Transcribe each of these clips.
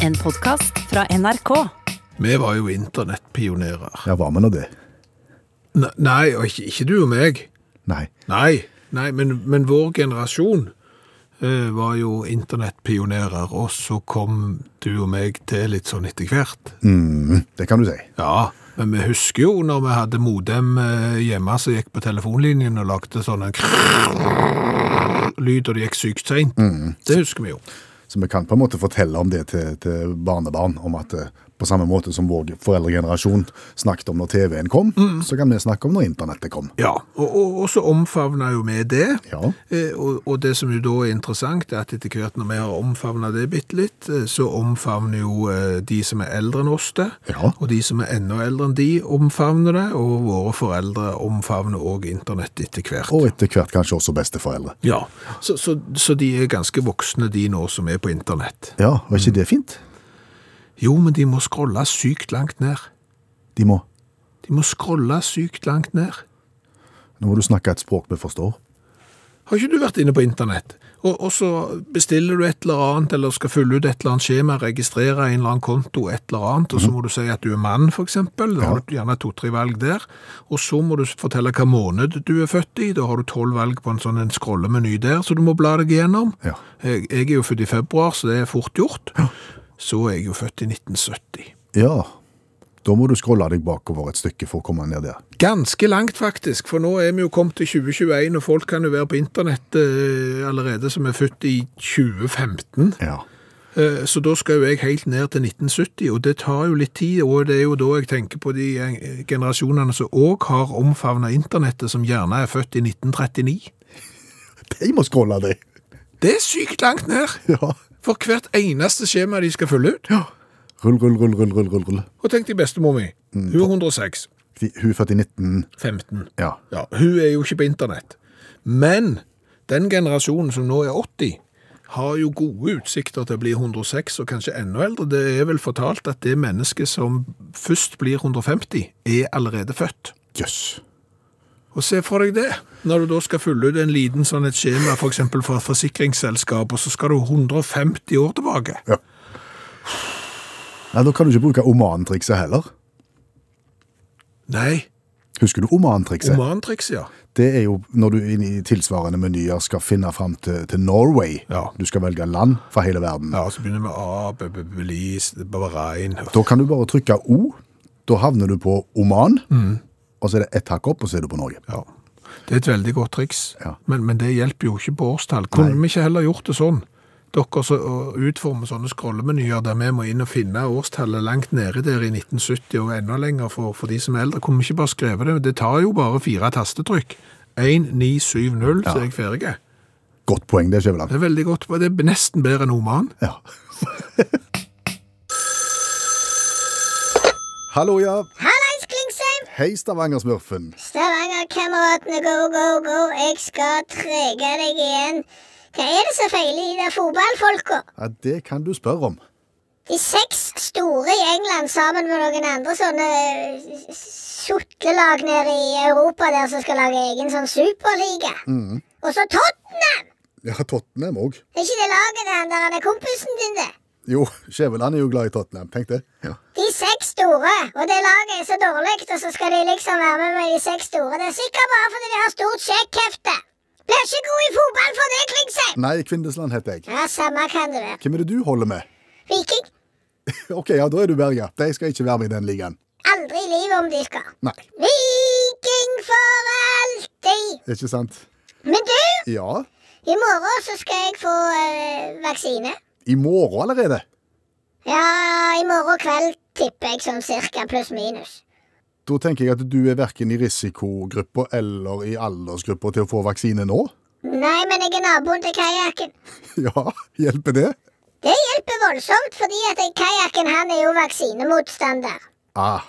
En podkast fra NRK. Vi var jo internettpionerer. Ja, var vi nå det? Ne- Nei, og ikke, ikke du og meg. Nei. Nei, nei men, men vår generasjon eh, var jo internettpionerer, og så kom du og meg til litt sånn etter hvert. Mm, det kan du si. Ja, men vi husker jo når vi hadde modem eh, hjemme som gikk på telefonlinjen og lagde sånn en lyd, og det gikk sykt seint. Det husker vi jo. Så vi kan på en måte fortelle om det til, til barnebarn, om at eh, på samme måte som vår foreldregenerasjon snakket om når TV-en kom, så kan vi snakke om når internettet kom. Ja, og, og, og så omfavna jo vi det. Ja. Eh, Og, og det som jo da er interessant, er at etter hvert når vi har omfavna det bitte litt, eh, så omfavner jo eh, de som er eldre enn oss det. Ja. Og de som er enda eldre enn de, omfavner det. Og våre foreldre omfavner òg internett etter hvert. Og etter hvert kanskje også besteforeldre. Ja, så, så, så de er ganske voksne, de nå som er på internett. Ja, var ikke det fint? Jo, men de må scrolle sykt langt ned. De må. De må scrolle sykt langt ned. Nå må du snakke et språk vi forstår. Har ikke du vært inne på internett? Og, og så bestiller du et eller annet, eller skal fylle ut et eller annet skjema, registrere en eller annen konto, et eller annet, og så må du si at du er mann, for eksempel. Da har du gjerne to-tre valg der. Og så må du fortelle hva måned du er født i. Da har du tolv valg på en sånn en scrollemeny der, så du må bla deg igjennom. Ja. Jeg, jeg er jo født i februar, så det er fort gjort. Så er jeg jo født i 1970. Ja, da må du scrolle deg bakover et stykke for å komme ned der. Ganske langt, faktisk, for nå er vi jo kommet til 2021, og folk kan jo være på internett eh, allerede som er født i 2015. Ja. Eh, Så da skal jo jeg helt ned til 1970, og det tar jo litt tid, og det er jo da jeg tenker på de eh, generasjonene som òg har omfavna internettet, som gjerne er født i 1939. De må scrolle deg. Det er sykt langt ned! Ja. For hvert eneste skjema de skal fylle ut. Rull, rull, rull, rull, rull, rull, rull. Og tenk deg bestemor mi. Hun er 106. De- Hun er født i 19... 15. Ja. Ja, hun er jo ikke på internett. Men den generasjonen som nå er 80, har jo gode utsikter til å bli 106 og kanskje enda eldre. Det er vel fortalt at det mennesket som først blir 150, er allerede født. Jøss. Og se for deg det, når du da skal fylle ut en liten sånn et skjema, for eksempel fra et forsikringsselskap, og så skal du 150 år tilbake. Nei, da kan du ikke bruke omantrikset heller. Nei, Husker du omantrikset? romantriks, ja. Det er jo når du inn i tilsvarende menyer skal finne fram til, til Norway. Ja. Du skal velge land fra hele verden. Ja, så begynner vi med A, B, B, Belize, Bahrain. Da kan du bare trykke O. Da havner du på Oman. Og så er det ett hakk opp, og så er du på Norge. Ja. Det er et veldig godt triks, Ja. men, men det hjelper jo ikke på årstall. Kunne vi ikke heller gjort det sånn? Dere som å utforme sånne scrollemenyer der vi må inn og finne årstallet langt nede der i 1970 og enda lenger for, for de som er eldre, kunne vi ikke bare skrevet det? Det tar jo bare fire tastetrykk. 1, 9, 7, 0, så er jeg ferdig. Godt poeng, det, Skjæveland. Det er veldig godt, det er nesten bedre enn Oman. Ja. Hallo, ja. Hallais, Klingsheim! Hei, Stavanger-smurfen. Stavanger-kameratene, go, go, go. Jeg skal trege deg igjen. Hva er det som feiler i de der fotballfolka? Ja, det kan du spørre om. De seks store i England sammen med noen andre sånne eh, s- suttelag nede i Europa der som skal lage egen sånn superliga. Og så Tottenham! Ja, Tottenham òg. Det er ikke det laget til han der han er kompisen din, det. Jo, Skjæveland er jo glad i Tottenham. Tenk det. Ja. De seks store, og det laget er så dårlig, og så skal de liksom være med med de seks store. Det er sikkert bare fordi de har stort sjekkhefte. Blir ikke god i fotball for det, Klingsheim. Nei, Kvindesland heter jeg. Ja, samme kan det være. Hvem er det du holder med? Viking. Ok, ja, da er du berga. De skal ikke være med i den ligaen. Aldri i livet om de skal. Nei, Viking for alltid. ikke sant? Men du, Ja, i morgen så skal jeg få eh, vaksine. i morgen allerede. Ja, i morgen kveld tipper jeg sånn cirka pluss minus. Da tenker jeg at du er verken i risikogruppa eller i aldersgruppa til å få vaksine nå. Nei, men jeg er naboen til kajakken. Ja, hjelper det? Det hjelper voldsomt, fordi at kajakken han er jo vaksinemotstander. Ah,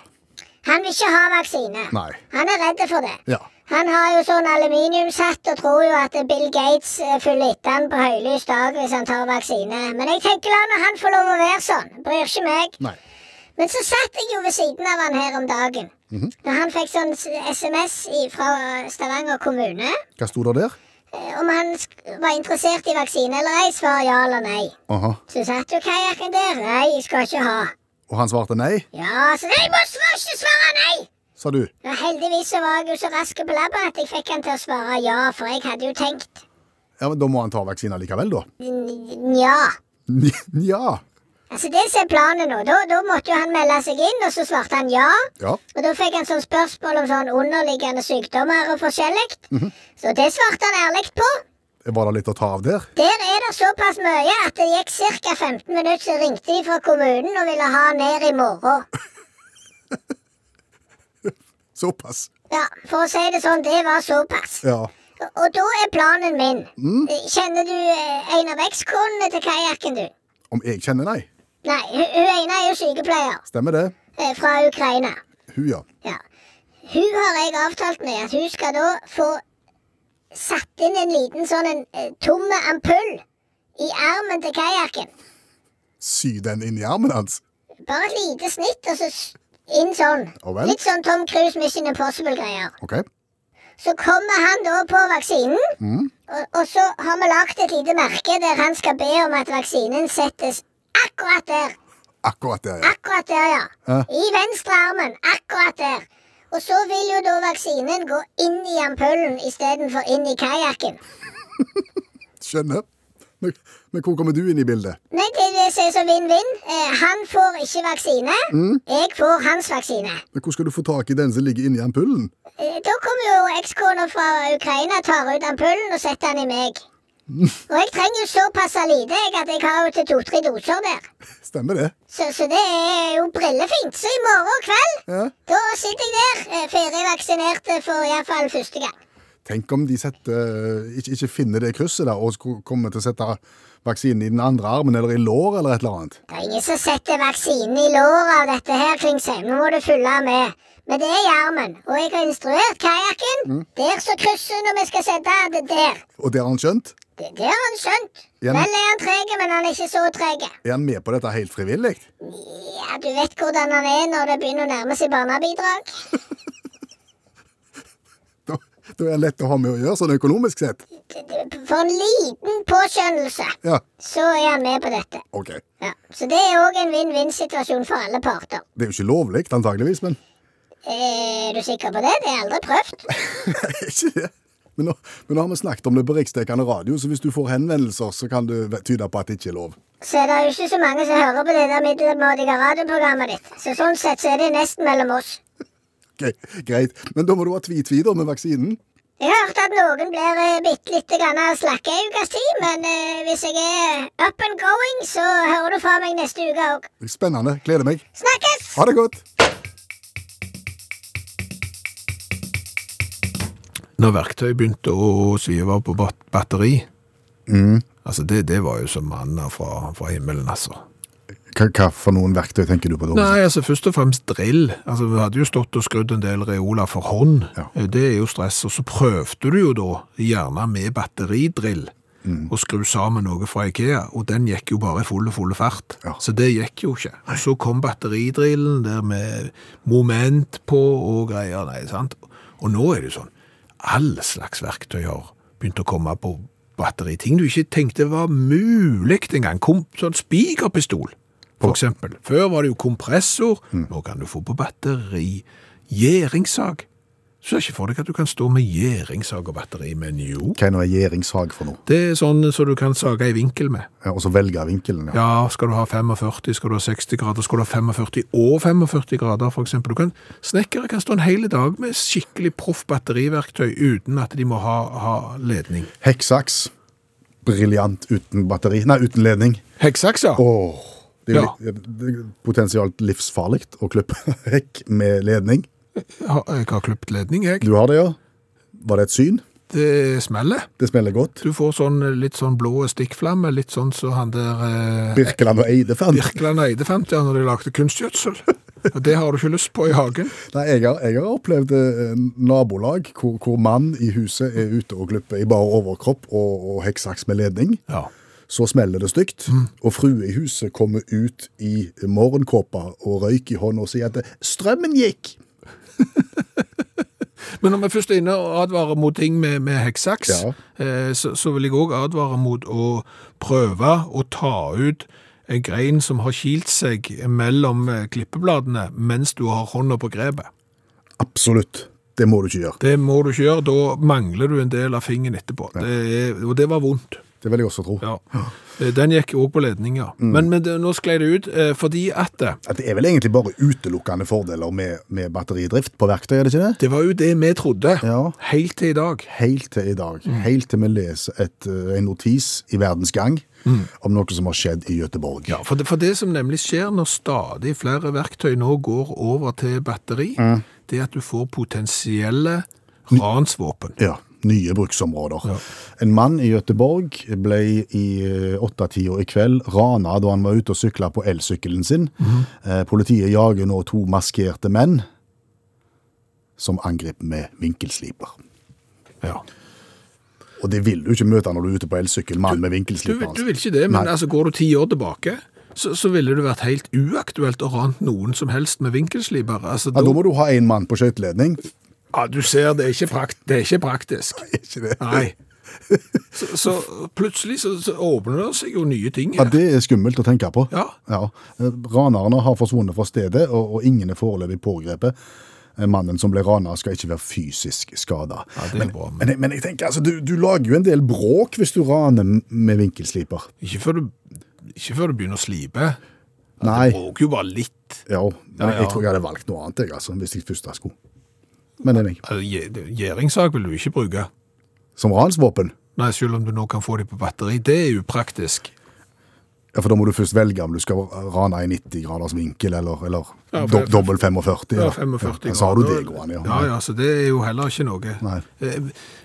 Han vil ikke ha vaksine. Nei. Han er redd for det. ja. Han har jo sånn aluminiumshatt og tror jo at Bill Gates eh, følger etter han på høylys dag hvis han tar vaksine. Men jeg tenker la nå han få lov å være sånn. Bryr ikke meg. Nei. Men så satt jeg jo ved siden av han her om dagen. Da han fikk sånn s- SMS i- fra Stavanger kommune. Hva sto det der? eh, om han sk- var interessert i vaksine eller ei. Svar ja eller nei. Aha. Så satt jo kajakken der. Nei, jeg skal ikke ha. Og han svarte nei, Ja, så nei, må svar, ikke svare nei! sa du. Ja, heldigvis så var jeg jo så rask på labba at jeg fikk han til å svare ja, for jeg hadde jo tenkt Ja, men Da må han ta vaksina likevel, da? n- nja. Nja. Altså Det som er planen nå, da, da måtte jo han melde seg inn, og så svarte han ja. Ja. Og da fikk han sånn spørsmål om sånn underliggende sykdommer og forskjellig. Så det svarte han ærlig på. Var det litt å ta av der? Der er det såpass mye at det gikk ca. 15 minutter, så ringte de fra kommunen og ville ha han ned i morgen. Såpass. Ja, For å si det sånn, det var såpass. Ja. Og, og da er planen min. Eh, Kjenner du eh, en av ekskonene til kajakken, du? Om jeg kjenner nei? Nei, hun, hun ene er jo sykepleier Stemmer det. eh, fra Ukraina. Hun, ja. Ja. Hun har jeg avtalt med at hun skal da få satt inn en liten sånn en eh, tomme ampull i armen til kajakken. Sy den inn i armen hans. Bare et lite snitt, og så s- inn sånn. Å vel. Litt sånn Tom Cruise Mission Impossible-greier. OK. Så kommer han da på vaksinen, og, og så har vi lagd et lite merke der han skal be om at vaksinen settes akkurat der. Akkurat der, ja. Akkurat der, ja. Ja. I venstre armen. Akkurat der. Og så vil jo da vaksinen gå inn i ampullen istedenfor inn i kajakken. Skjønner. Men, men hvor kommer du inn i bildet? Nei, det er det som er så vinn-vinn. Eh, han får ikke vaksine. Mm. Jeg får hans vaksine. Men Hvor skal du få tak i den som ligger inni ampullen? Eh, da kommer jo ekskona fra Ukraina, tar ut ampullen og setter den i meg. Og jeg trenger jo såpass lite jeg, at jeg har jo til to-tre doser der. Stemmer det. Så, så det er jo brillefint. Så i morgen kveld, Ja. da sitter jeg der, eh, ferdig vaksinert eh, for iallfall første gang. Tenk om de setter, ikke, ikke finner det krysset der og sko- kommer til å sette vaksinen i den andre armen eller i lår eller et eller annet. Det er ingen som setter vaksinen i låret av dette her, Klingsheim. Nå må du følge med. Men det er i armen. Og jeg har instruert kajakken. Mm. Der så krysset når vi skal sette det der. Og det har han skjønt. Det, det har han skjønt. Ja, men- Vel er han treg, men han er ikke så treg. Er han med på dette helt frivillig? Ja, du vet hvordan han er når det begynner å nærme seg barnebidrag. Da, da er han lett å ha med å gjøre, sånn økonomisk sett. Det- det- For en liten påskjønnelse, Ja, så er han med på dette. ok. Ja. Så det er òg en vinn-vinn-situasjon for alle parter. Det er jo ikke lovlig, antageligvis, men Er du sikker på det? Det har jeg aldri prøvd. ikke det. Men nå, men nå har vi snakket om det på riksdekkende radio, så hvis du får henvendelser, så kan du tyde på at det ikke er lov. så er det jo ikke så mange som hører på det der middelmådige radioprogrammet ditt. Så sånn sett så er det nesten mellom oss. Ok, greit. Men da må du ha tvi-tvi da med vaksinen. Jeg har hørt at noen blir eh, bitte lite grann slakke i ukas tid, men eh, hvis jeg er up and going, så hører du fra meg neste uke òg. Spennende. Gleder meg. Snakkes! Ha det godt. Når verktøy begynte å svive på bat- batteri, Mm. altså det, det var jo som manna fra, fra himmelen, altså. Hva, hva for noen verktøy tenker du på da? Nei, altså først og fremst drill. Altså Vi hadde jo stått og skrudd en del reoler for hånd. Ja. Eh, Det er jo stress. Og så prøvde du jo da, gjerne med batteridrill, Mm. å skru sammen noe fra Ikea, og den gikk jo bare i full og full fart. Ja. Så det gikk jo ikke. Og så kom batteridrillen der med moment på og greier, nei, sant? Og nå er det jo sånn, all slags verktøy har begynt å komme på batteri. Ting du ikke tenkte var mulig engang. Kom, sånn spikerpistol, for eksempel. Før var det jo kompressor, nå kan du få på batteri. Gjæringssag. Så er ikke for deg at du kan stå med gjæringssag og batteri, men jo. Hva er noe regjeringshag for noe? Det er sånn som du kan sage i vinkel med. Ja, Og så velge vinkelen, ja. Ja, skal du ha 45, skal du ha 60 grader, skal du ha 45 og 45 grader for eksempel. Du kan, snekkere kan stå en hele dag med skikkelig proff batteriverktøy uten at de må ha, ha ledning. Hekksaks. Briljant uten batteri. Nei, uten ledning. Hekksakser? Åh, det er jo Ja. li- det er potensielt livsfarlig å klippe hekk med ledning. Jeg har- Jeg har kløpt ledning, jeg. Du har det, ja. Var det et syn? Det smeller. Det smeller godt. Du får sånn litt sånn blå stikkflamme, litt sånn som han der eh, Birkeland og Eide fant. Birkeland Eide fant der når de lagde kunstgjødsel. Og Det har du ikke lyst på i hagen. Nei, jeg har, jeg har opplevd eh, nabolag hvor, hvor mann i huset er ute og klipper i bare overkropp og, og hekksaks med ledning. Ja. Så smeller det stygt, Mm. og frue i huset kommer ut i morgenkåpa og røyk i hånda og sier at 'strømmen gikk'. Men når vi først er inne og advarer mot ting med, med hekksaks, Ja. eh, så, så vil jeg òg advare mot å prøve å ta ut en grein som har kilt seg mellom eh, klippebladene mens du har hånda på grepet. Absolutt. Det må du ikke gjøre. Det må du ikke gjøre, da mangler du en del av fingeren etterpå. Det er, og det var vondt. Det vil jeg også tro. Ja. Eh, Den gikk òg på ledninga. Mm. Men, men det, nå sklei det ut, eh, fordi at det, At det er vel egentlig bare utelukkende fordeler med, med batteridrift på verktøy, er det ikke det? det var jo det vi trodde, Ja. helt til i dag. Helt til i dag. Mm. Helt til vi leser et, eh, en notis i Verdens Gang om noe som har skjedd i Gøteborg. Mm. Ja, for det, for det som nemlig skjer når stadig flere verktøy nå går over til batteri, Mm. det er at du får potensielle ransvåpen. Ja, nye bruksområder. En mann i Gøteborg ble i eh, åttetida i kveld rana da han var ute og sykla på elsykkelen sin. Mhm. Eh, Politiet jager nå to maskerte menn som angriper med vinkelsliper. Ja. Og det vil du ikke møte når du er ute på elsykkel, mann med Du, vinkelsliper. du vil ikke det, men Nei. altså, går du ti år tilbake, så, så ville det vært helt uaktuelt å rane noen som helst med vinkelsliper. Altså, Ja, da- da må du ha én mann på skøyteledning. Ja, du ser, det er ikke, prakt, det er ikke praktisk. Ikke det? Nei. Så, så plutselig så, så åpner det seg jo nye ting. Ja, her. det er skummelt å tenke på. Ja. Eh, Ranerne har forsvunnet fra stedet, og, og ingen er foreløpig pågrepet. Eh, Mannen som ble rana skal ikke være fysisk skada. Ja, det er men, bra, men- men, jeg- men jeg tenker, altså, du, du lager jo en del bråk hvis du raner m- med vinkelsliper. Ikke, før du, ikke før du begynner å slipe. Nei, Bråker jo bare litt. ja, men Ja, ja. jeg tror jeg hadde valgt noe annet, jeg, altså, hvis jeg først skulle. Men det er meg. Altså, gje- Gjæringssak vil du ikke bruke. Som ransvåpen? Nei, selv om du nå kan få dem på batteri. Det er upraktisk. Ja, for da må du først velge om du skal rane i 90 graders vinkel, eller, eller Ja, for- dob- dobbel 45. Ja, eller- 45 ja, Så har du det grader. gående, ja. Ja, ja, så det er jo heller ikke noe. Nei. Eh,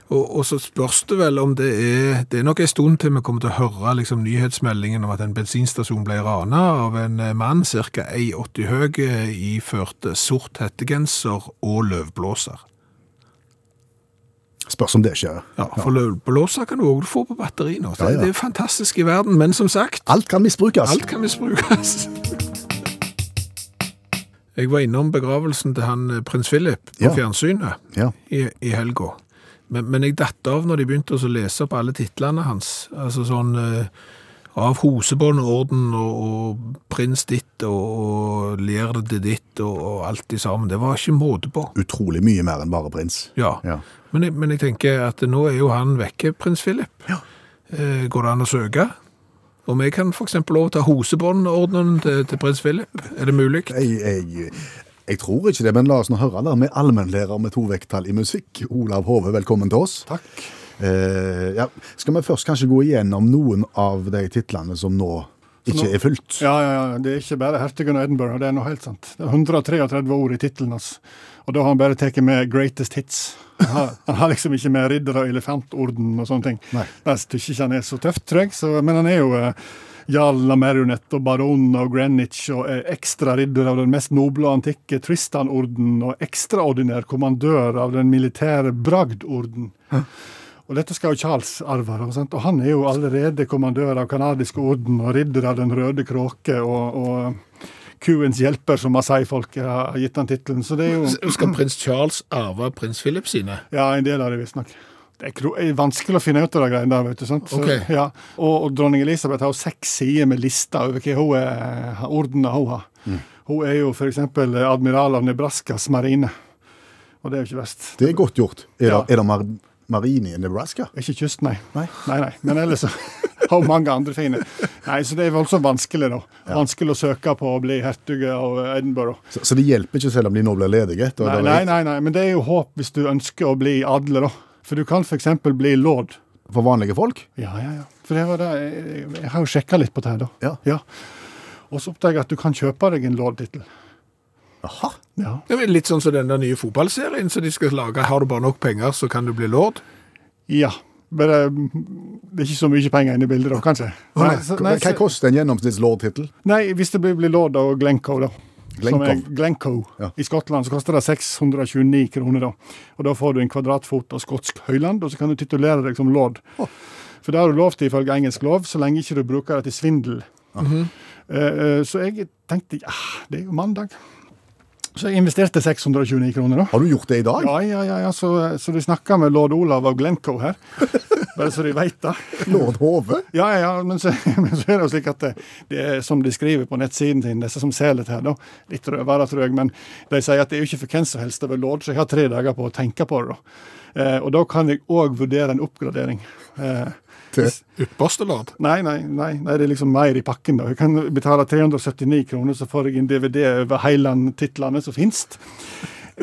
Og, og så spørs det vel om det er Det er nok en stund til vi kommer til å høre liksom, nyhetsmeldingen om at en bensinstasjon ble rana av en eh, mann ca. 1,80 høy, eh, iført sort hettegenser og løvblåser. Spørs om det skjer. Ja, For løvblåser kan du òg få på batteri nå. Det, Ja, ja. det er fantastisk i verden, men som sagt Alt kan misbrukes. Alt kan misbrukes. Jeg var innom begravelsen til han eh, prins Philip på Ja. fjernsynet Ja. i, i helga. Men, men jeg datt av når de begynte å så lese opp alle titlene hans. Altså sånn eh, Av Hosebåndorden og, og Prins ditt og, og Ler det ditt og, og alt i sammen. Det var ikke måte på. Utrolig mye mer enn bare prins. Ja. Ja. Men, jeg, men jeg tenker at nå er jo han vekke, prins Philip. Eh, går det an å søke? Og vi kan f.eks. overta hosebåndordenen til, til prins Philip. Er det mulig? Jeg, jeg, jeg tror ikke det, men la oss nå høre der med allmennlærer med to vekttall i musikk. Olav Hove, velkommen til oss. Takk. Eh, ja. Skal vi først kanskje gå igjennom noen av de titlene som nå ikke er fulgt? Ja, ja, ja. Det er ikke bare hertugen av Edinburgh, det er noe helt sant. Det er 133 ord i tittelen hans, og da har han bare tatt med 'greatest hits'. Han har, han har liksom ikke med ridder og elefantorden og sånne ting. Nei. Jeg syns ikke han er så tøft, tror jeg, så, men han er jo eh, jarl av Marionette og baron av Greenwich og er ekstra ridder av den mest noble og antikke Tristan-orden og ekstraordinær kommandør av den militære Bragd-orden. Og dette skal jo Charles arve, da, sant? og han er jo allerede kommandør av kanadisk orden og ridder av Den røde kråke og, og kuens hjelper, som Masai-folket har gitt han tittelen. Så det er jo Skal prins Charles arve prins Philip sine? ja, en del av det, visstnok. Det er kro- er vanskelig å finne ut av de greiene der, vet du. sant? Så, Ok. ja. og, og dronning Elisabeth har jo seks sider med lista over hva hun er, ordene hun har. Hun er jo f.eks. admiral av Nebraskas marine, og det er jo ikke verst. Det er godt gjort. Er, Ja. det, er det mar marine i Nebraska? Ikke kyst, nei. Nei, nei. nei. Men ellers så har hun mange andre fine. Nei, så det er voldsomt vanskelig, da. Vanskelig å søke på å bli hertug av Edinburgh. Så, så det hjelper ikke selv om de nå blir ledige? Da Nei, er det- nei, nei, nei, men det er jo håp hvis du ønsker å bli adler, da. For du kan f.eks. bli lord. For vanlige folk? Ja, ja, ja. For det var det. Jeg, jeg har jo sjekka litt på det her, da. Ja. Og så oppdager jeg at du kan kjøpe deg en lordtittel. Jaha. Ja. Det er vel litt sånn som den der nye fotballserien som de skal lage. Har du bare nok penger, så kan du bli lord. ja. Bare mm, det er ikke så mye penger inne i bildet, da, kanskje. Nei, så- nei, Hva så- koster en gjennomsnittslordtittel? Nei, hvis det blir blir lord av Glencoe, da. Glencoe. Som er Glencoe. Ja. I Skottland så koster det 629 kroner. da. Og Da får du en kvadratfot av skotsk høyland, og så kan du titulere deg som lord. For det har du lov til ifølge engelsk lov, så lenge ikke du bruker det til svindel. Eh, eh, Så jeg tenkte ja, det er jo mandag. Så jeg investerte 629 kroner, da. Har du gjort det i dag? Ja, ja, ja, ja. Så, eh, så de snakker med lord Olav av Glencoe her. Bare så de veit det. Lord Hove? Ja, ja, ja, men så, men så er det jo slik at det, det er som de skriver på nettsiden sin, disse som selger dette her, da. Litt røvere, tror jeg, men de sier at det er jo ikke for hvem som helst å være lord, så jeg har tre dager på å tenke på det, da. Eh, og da kan jeg òg vurdere en oppgradering. Eh, Til Ypperste lord. nei, nei, nei, nei, det er liksom mer i pakken, da. Jeg kan betale 379 kroner, så får jeg en DVD over Heiland-titlene som finnes.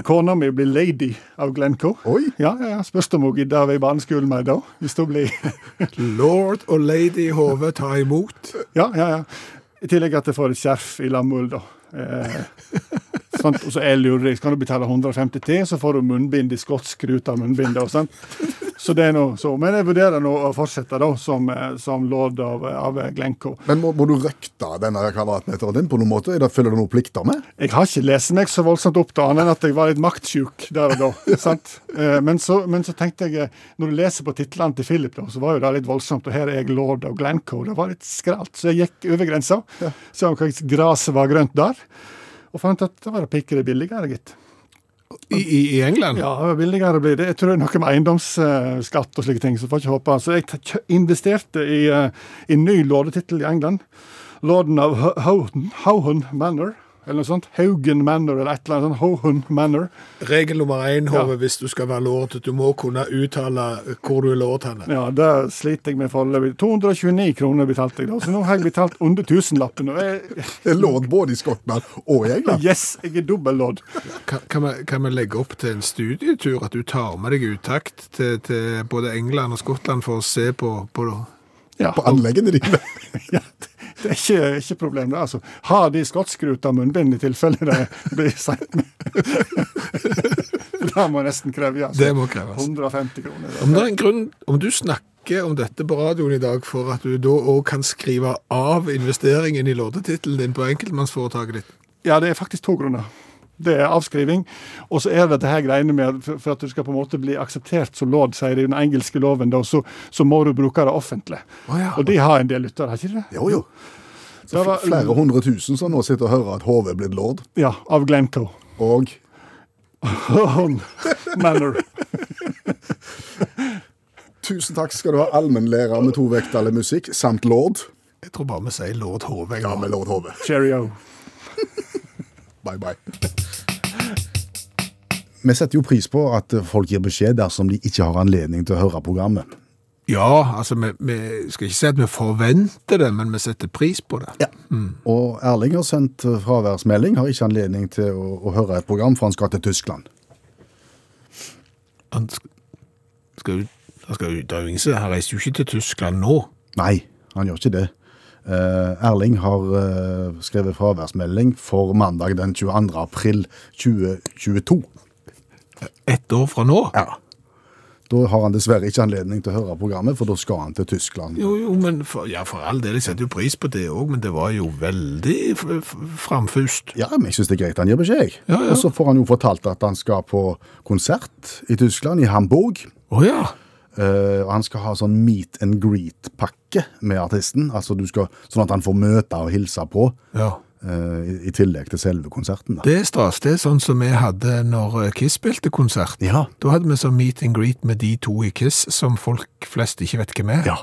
Kona mi blir lady av Glencoe. Oi. Ja, ja, ja. Spørs om hun gidder å være i barneskolen med da, hvis hun blir Lord og lady i hodet tar imot. Ja, ja, ja. I tillegg at jeg får et skjerf i lammull, da. Eh, sant? Og så er jeg lurig. Skal du betale 150 til, så får du munnbind i skotsk rute av munnbind. da, sant? Så det er noe så. Men jeg vurderer nå å fortsette da, som, eh, som lord av, av Glencoe. Men må, må du røkte denne kvadratmeteren din på noen måte? Er det- Følger du noen plikter med? Jeg har ikke lest meg så voldsomt opp, da, annet enn at jeg var litt maktsjuk der og da. sant? Eh, Men så, men så tenkte jeg, eh, når du leser på titlene til Philip, da, så var jo det litt voldsomt. Og her er jeg lord av Glencoe. Det var litt skralt. Så jeg gikk over grensa, så om hva gresset var grønt der. Og fant at det var pikkere billigere, gitt. I, i, i England? Ja, billigere blir det. Jeg tror det er noe med eiendomsskatt og slike ting, så får ikke håpe. Så jeg t- kjø- investerte i eh, i en ny lordetittel i England. Lorden av Ho- Houghton Houghton Manor, eller noe sånt. Haugen Manor, eller et eller annet sånt. Houghton Manor. Regel nummer én, Hove, Ja. hvis du skal være lord, du må kunne uttale hvor du er lord hen. Ja, det sliter jeg med foreløpig. 229 kroner betalte jeg da, så nå har jeg betalt under tusenlappen. Og jeg, Det er lord både i Skottland og i England. yes, jeg er dobbellodd. Kan, kan, vi, kan vi legge opp til en studietur, at du tar med deg uttakt til, til både England og Skottland for å se på, på Ja. På anleggene dine. Ja, det- det er ikke, ikke problem, det. altså. Har de skottskruta munnbind i tilfelle det blir seint? det må jeg nesten kreve, altså. Det må kreves. 150 kroner. det. Om det er en grunn, om du snakker om dette på radioen i dag for at du da òg kan skrive av investeringen i låtetittelen din på enkeltmannsforetaket ditt Ja, det er faktisk to grunner. Det er avskriving, og så er det dette her greiene med at for- for at du skal på en måte bli akseptert som lord, sier de i den engelske loven, da, så, så må du bruke det offentlig. Å ja. Og de har en del lyttere, har ikke de det? Jo, jo. Så Det var- fl- flere hundre tusen som nå sitter og hører at Hove er blitt lord. Ja, av Glencoe. Og Manor. tusen takk skal du ha, allmennlærer med to vekttall i musikk, samt lord. Jeg tror bare vi sier lord Hove. Ja, med lord Hove. Cheerio. Bye, bye. Vi setter jo pris på at folk gir beskjed dersom de ikke har anledning til å høre programmet. Ja, altså vi, vi skal ikke si at vi forventer det, men vi setter pris på det. Ja. Og Erling har sendt fraværsmelding, har ikke anledning til å, å høre et program, for han skal til Tyskland. Han sk- skal jo han skal jo, det er jo ingen som Han reiser jo ikke til Tyskland nå. Nei, han gjør ikke det. Eh, Erling har eh, skrevet fraværsmelding for mandag den 22. april 2022. Ett år fra nå. Ja. Da har han dessverre ikke anledning til å høre programmet, for da skal han til Tyskland. Jo, jo, men for, ja, for all del, jeg setter jo pris på det òg, men det var jo veldig f f framfust. Ja, men jeg synes det er greit han gir beskjed. jeg. Ja, ja. Og så får han jo fortalt at han skal på konsert i Tyskland, i Hamburg. Å ja. Eh, og han skal ha sånn meet and greet-pakke med artisten, altså du skal, sånn at han får møte og hilse på, ja. eh, i, i tillegg til selve konserten. Da. Det er stas. Det er sånn som vi hadde når eh, Kiss spilte konsert. Ja. Da hadde vi sånn meet and greet med de to i Kiss som folk flest ikke vet hvem er. Ja,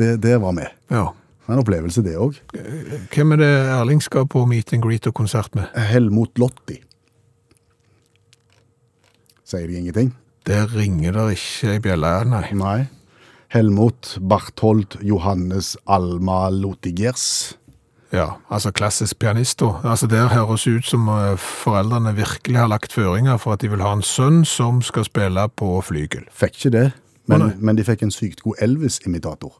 det, det var med. Ja. En opplevelse det også. Hvem er det Erling skal på meet and greet og konsert med? Helmut Lotti. Sier de ingenting? Der ringer det ikke ei bjelle, nei. Nei. Helmut Barthold Johannes Alma Lotigers. Ja, altså klassisk pianist da. Altså der høres ut som eh, foreldrene virkelig har lagt føringer for at de vil ha en sønn som skal spille på flygel. Fikk ikke det, men, Å, nei. men de fikk en sykt god Elvis-imitator.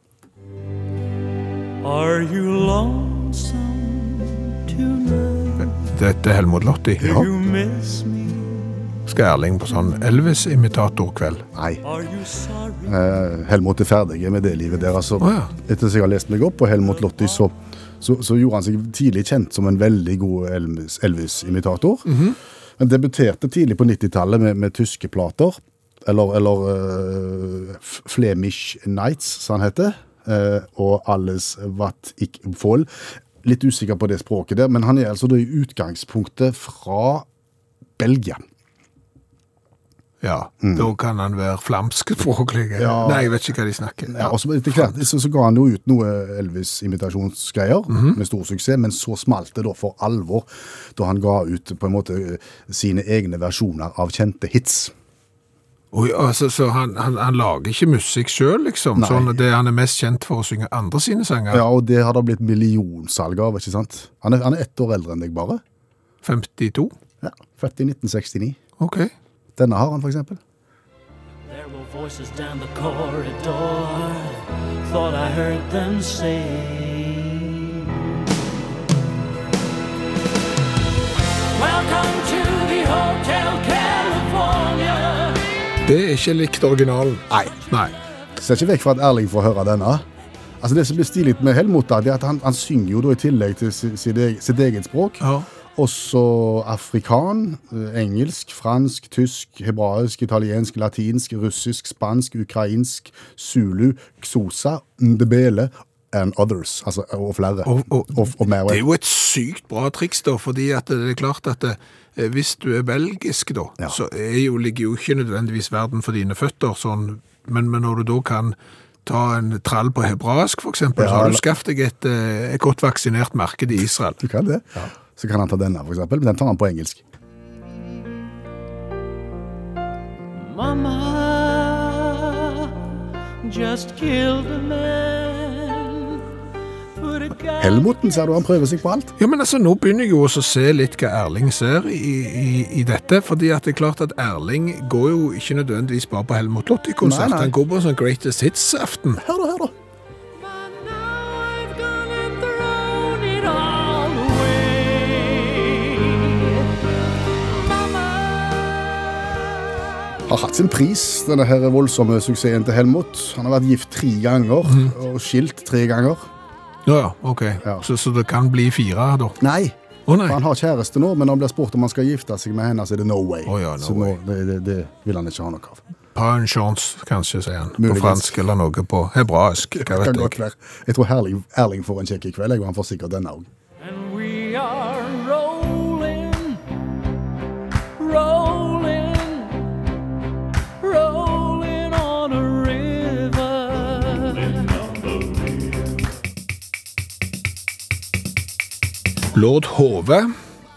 Are you lonesome tonight? Dette er Helmut Lotti. You miss me? Skal Erling på sånn Elvis-imitatorkveld? Nei. Are you sorry? Eh, Helmut er ferdig med det livet deres. Så Å, ja. Etter som jeg har lest meg opp på Helmut Lotti, så, så, så gjorde han seg tidlig kjent som en veldig god Elvis- Elvis-imitator. Mhm. Han debuterte tidlig på 90-tallet med, med tyske plater, eller, eller eh, F- Flemish Nights, som han heter, eh, og Alles Watt Ik Voll. Litt usikker på det språket der, men han er altså da i utgangspunktet fra Belgia. Ja, Da kan han være flamskspråklig. eller- Mm. Ja. Nei, jeg vet ikke hva de snakker. Ja, og så Etter hvert så, så ga han jo ut noe Elvis-imitasjonsgreier med stor suksess, men så smalt det da for alvor da han ga ut på en måte eh, sine egne versjoner av kjente hits. Oi, altså, så han, han, han lager ikke musikk sjøl, liksom? Nei. Sånn at det Han er mest kjent for å synge andre sine sanger? Ja, Og det har det blitt millionsalg av, ikke sant? Han er, han er ett år eldre enn deg, bare. 52? Ja, Født i 1969. OK. Denne har han, for eksempel. There were voices down the corridor. Thought I heard them say, Welcome to the Hotel California. Det er ikke likt originalen. Nei. Nei. Ser ikke vekk fra at Erling får høre denne. Altså Det som blir stilig med Helmut, da, det er at han, han synger jo da i tillegg til si- sitt, eget- sitt eget språk. Ja. Også afrikan, eh, engelsk, fransk, tysk, hebraisk, italiensk, latinsk, russisk, spansk, ukrainsk, zulu, xosa, ndebele and others. Altså, og flere. Og- og- og mer. Det er jo et sykt bra triks, da, fordi at det er klart at eh, hvis du er belgisk, da, Ja. så er jo, ligger jo ikke nødvendigvis verden for dine føtter, sånn, men, men når du da kan ta en trall på hebraisk, for eksempel, Ja, så har du eller- skaffet deg et, eh, et godt vaksinert marked i Israel. Du kan det. Så kan han ta denne, for eksempel. Men den tar han på engelsk. Mama just killed a man. Put a guy. Helmuten, ser du, han prøver seg på alt. Ja, men altså, Nå begynner jeg jo også å se litt hva Erling ser i, i, i dette. fordi at det er klart at Erling går jo ikke nødvendigvis bare på Helmut Nei, Lotti-konsert. nei. Han går på en sånn Greatest Hits-aften. Hør da, hør da. But now I've gone and thrown it all away. har hatt sin pris, denne her voldsomme suksessen til Helmut. Han har vært gift tre ganger, Mm. og skilt tre ganger. Ja, ja, ok. Ja. Så, så det kan bli fire, da. Nei, Å nei. for han har kjæreste nå, men når han blir spurt om han skal gifte seg med henne, så er det no way. Å ja, no så nå, det, det, det vil han ikke ha noe av. Pas en chance, kanskje, sier han. Muligens. På fransk eller noe på hebraisk. Hva Kan vet godt jeg. være. Jeg tror Erling, Erling får en kjekk i kveld, jeg, og han får sikkert denne òg. And we are rolling, rolling, rolling on a river. Lord Hove,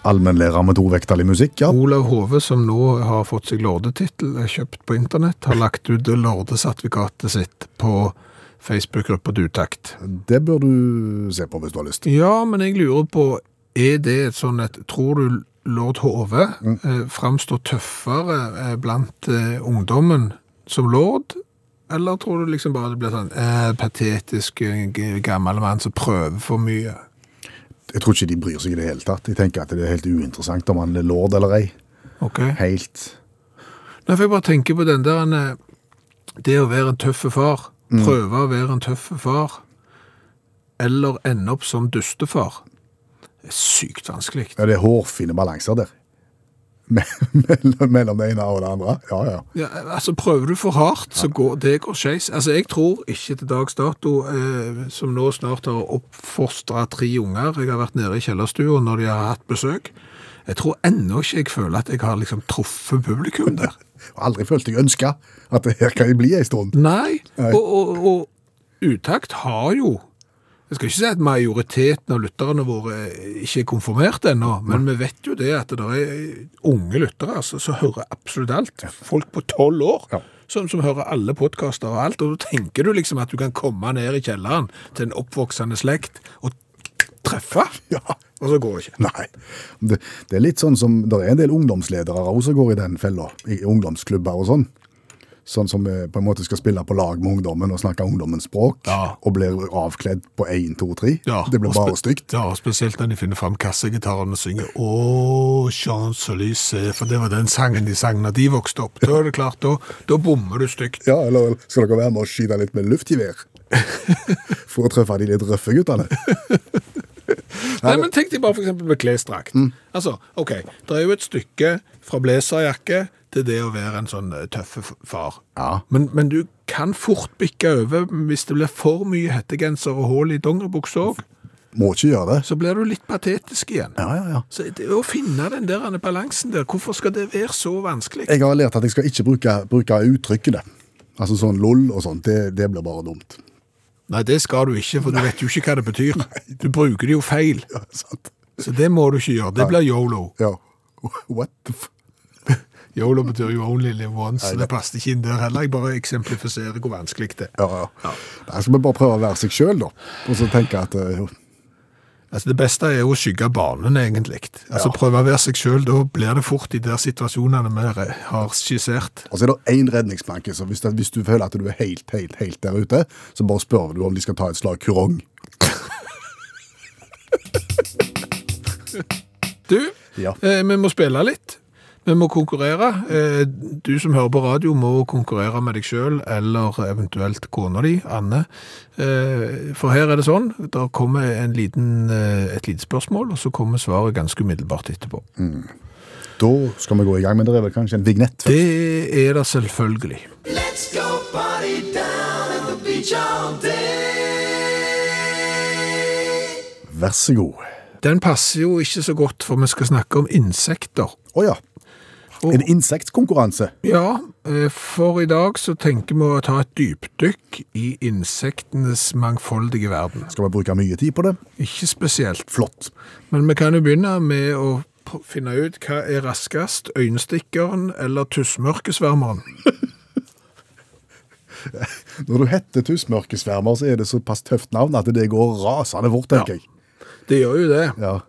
Allmennlærer med tovektig musikk, ja. Olav Hove, som nå har fått seg lordetittel, er kjøpt på internett, har lagt ut lordesertifikatet sitt på Facebook-gruppa Dutakt. Det bør du se på hvis du har lyst. Ja, men jeg lurer på, er det et sånn et Tror du lord Hove Mm. eh, framstår tøffere eh, blant eh, ungdommen som lord? Eller tror du liksom bare det blir sånn eh, patetisk eh, g- gammel mann som prøver for mye? Jeg tror ikke de bryr seg i det hele tatt. Jeg tenker at det er helt uinteressant om han er lord eller ei. Ok. Helt Nei, for jeg bare tenker på den der eh, Det å være en tøffe far, prøve å være en tøffe far, eller ende opp som dustefar, det er sykt vanskelig. Ja, det er hårfine balanser der. Me- Mellom, mellom det ene og det andre. Ja, ja. Ja, altså Prøver du for hardt, så går det går skeis. Altså, jeg tror ikke til dags dato, eh, som nå snart har oppfostra tre unger Jeg har vært nede i kjellerstua når de har hatt besøk. Jeg tror ennå ikke jeg føler at jeg har liksom truffet publikum der. Jeg har aldri følt jeg ønska at det her kan jeg bli ei stund. Nei. Nei. Og, og, og utakt har jo Jeg skal ikke si at majoriteten av lytterne våre ikke er konfirmert ennå, men vi vet jo det at det er unge lyttere altså, som hører absolutt alt. Folk på tolv år. Ja. Som, som hører alle podkaster og alt, og da tenker du liksom at du kan komme ned i kjelleren til en oppvoksende slekt og treffe, Ja. og så går det ikke. Nei. Det, det er litt sånn som Det er en del ungdomsledere òg som går i den fella. I ungdomsklubber og sånn. Sånn som eh, på en måte skal spille på lag med ungdommen og snakke ungdommens språk. Ja. Og blir avkledd på én, to, tre. Ja, Det blir og spe- bare stygt. Ja, og spesielt når de finner fram kassegitaren og synger Å, Champs-Élysées, for det var den sangen de sang når de vokste opp. Da er det klart, da, da bommer du stygt. Ja, eller skal dere være med og skyte litt med luftgevær? For å treffe de litt røffe guttene. Nei, men tenk deg bare for eksempel med klesdrakt. Mm. Altså, ok, det er jo et stykke fra blazerjakke til det å være en sånn eh, tøffe f- far. Ja. Men, men du kan fort bikke over hvis det blir for mye hettegenser og hull i dongeribuksa òg. Må ikke gjøre det. så blir du litt patetisk igjen. Ja, ja, ja. Så det Å finne den der balansen der, hvorfor skal det være så vanskelig? Jeg har lært at jeg skal ikke bruke, bruke uttrykkene. Altså sånn lol og sånt. Det, det blir bare dumt. Nei, det skal du ikke, for du vet jo ikke hva det betyr. Du bruker det jo feil, Ja, sant. så det må du ikke gjøre. Det blir yolo. Ja. What the f... Yolo betyr jo only live once, så Nei, det passer ikke inn der heller. Jeg bare eksemplifiserer hvor vanskelig det er. Ja, ja. Der skal vi bare prøve å være seg sjøl, da. Og så tenke at eh, Altså, det beste er jo å skygge banen, egentlig. Altså, prøve å være seg sjøl, da blir det fort de der situasjonene vi re- har skissert. Og så er det én redningsplanke, så hvis, det, hvis du føler at du er helt, helt, helt der ute, så bare spør du om de skal ta et slag kurong. Du, Ja. eh, vi må spille litt. Vi må konkurrere. Eh, du som hører på radio må konkurrere med deg sjøl, eller eventuelt kona di, Anne. Eh, for her er det sånn, der kommer en liten, eh, et lite spørsmål, og så kommer svaret ganske umiddelbart etterpå. Da skal vi gå i gang, men det er vel kanskje en vignett? først? Det er det selvfølgelig. Let's go party down at the beach all day. Vær så god. Den passer jo ikke så godt, for vi skal snakke om insekter. Å ja. En insektkonkurranse. Ja, eh, for i dag så tenker vi å ta et dypdykk i insektenes mangfoldige verden. Skal vi bruke mye tid på det? Ikke spesielt. Flott. Men vi kan jo begynne med å p- finne ut hva er raskest, øynestikkeren eller tussmørkesvermeren. Når du heter Tussmørkesvermer, så er det såpass tøft navn at det går rasende fort, tenker jeg. Det gjør jo det. Ja.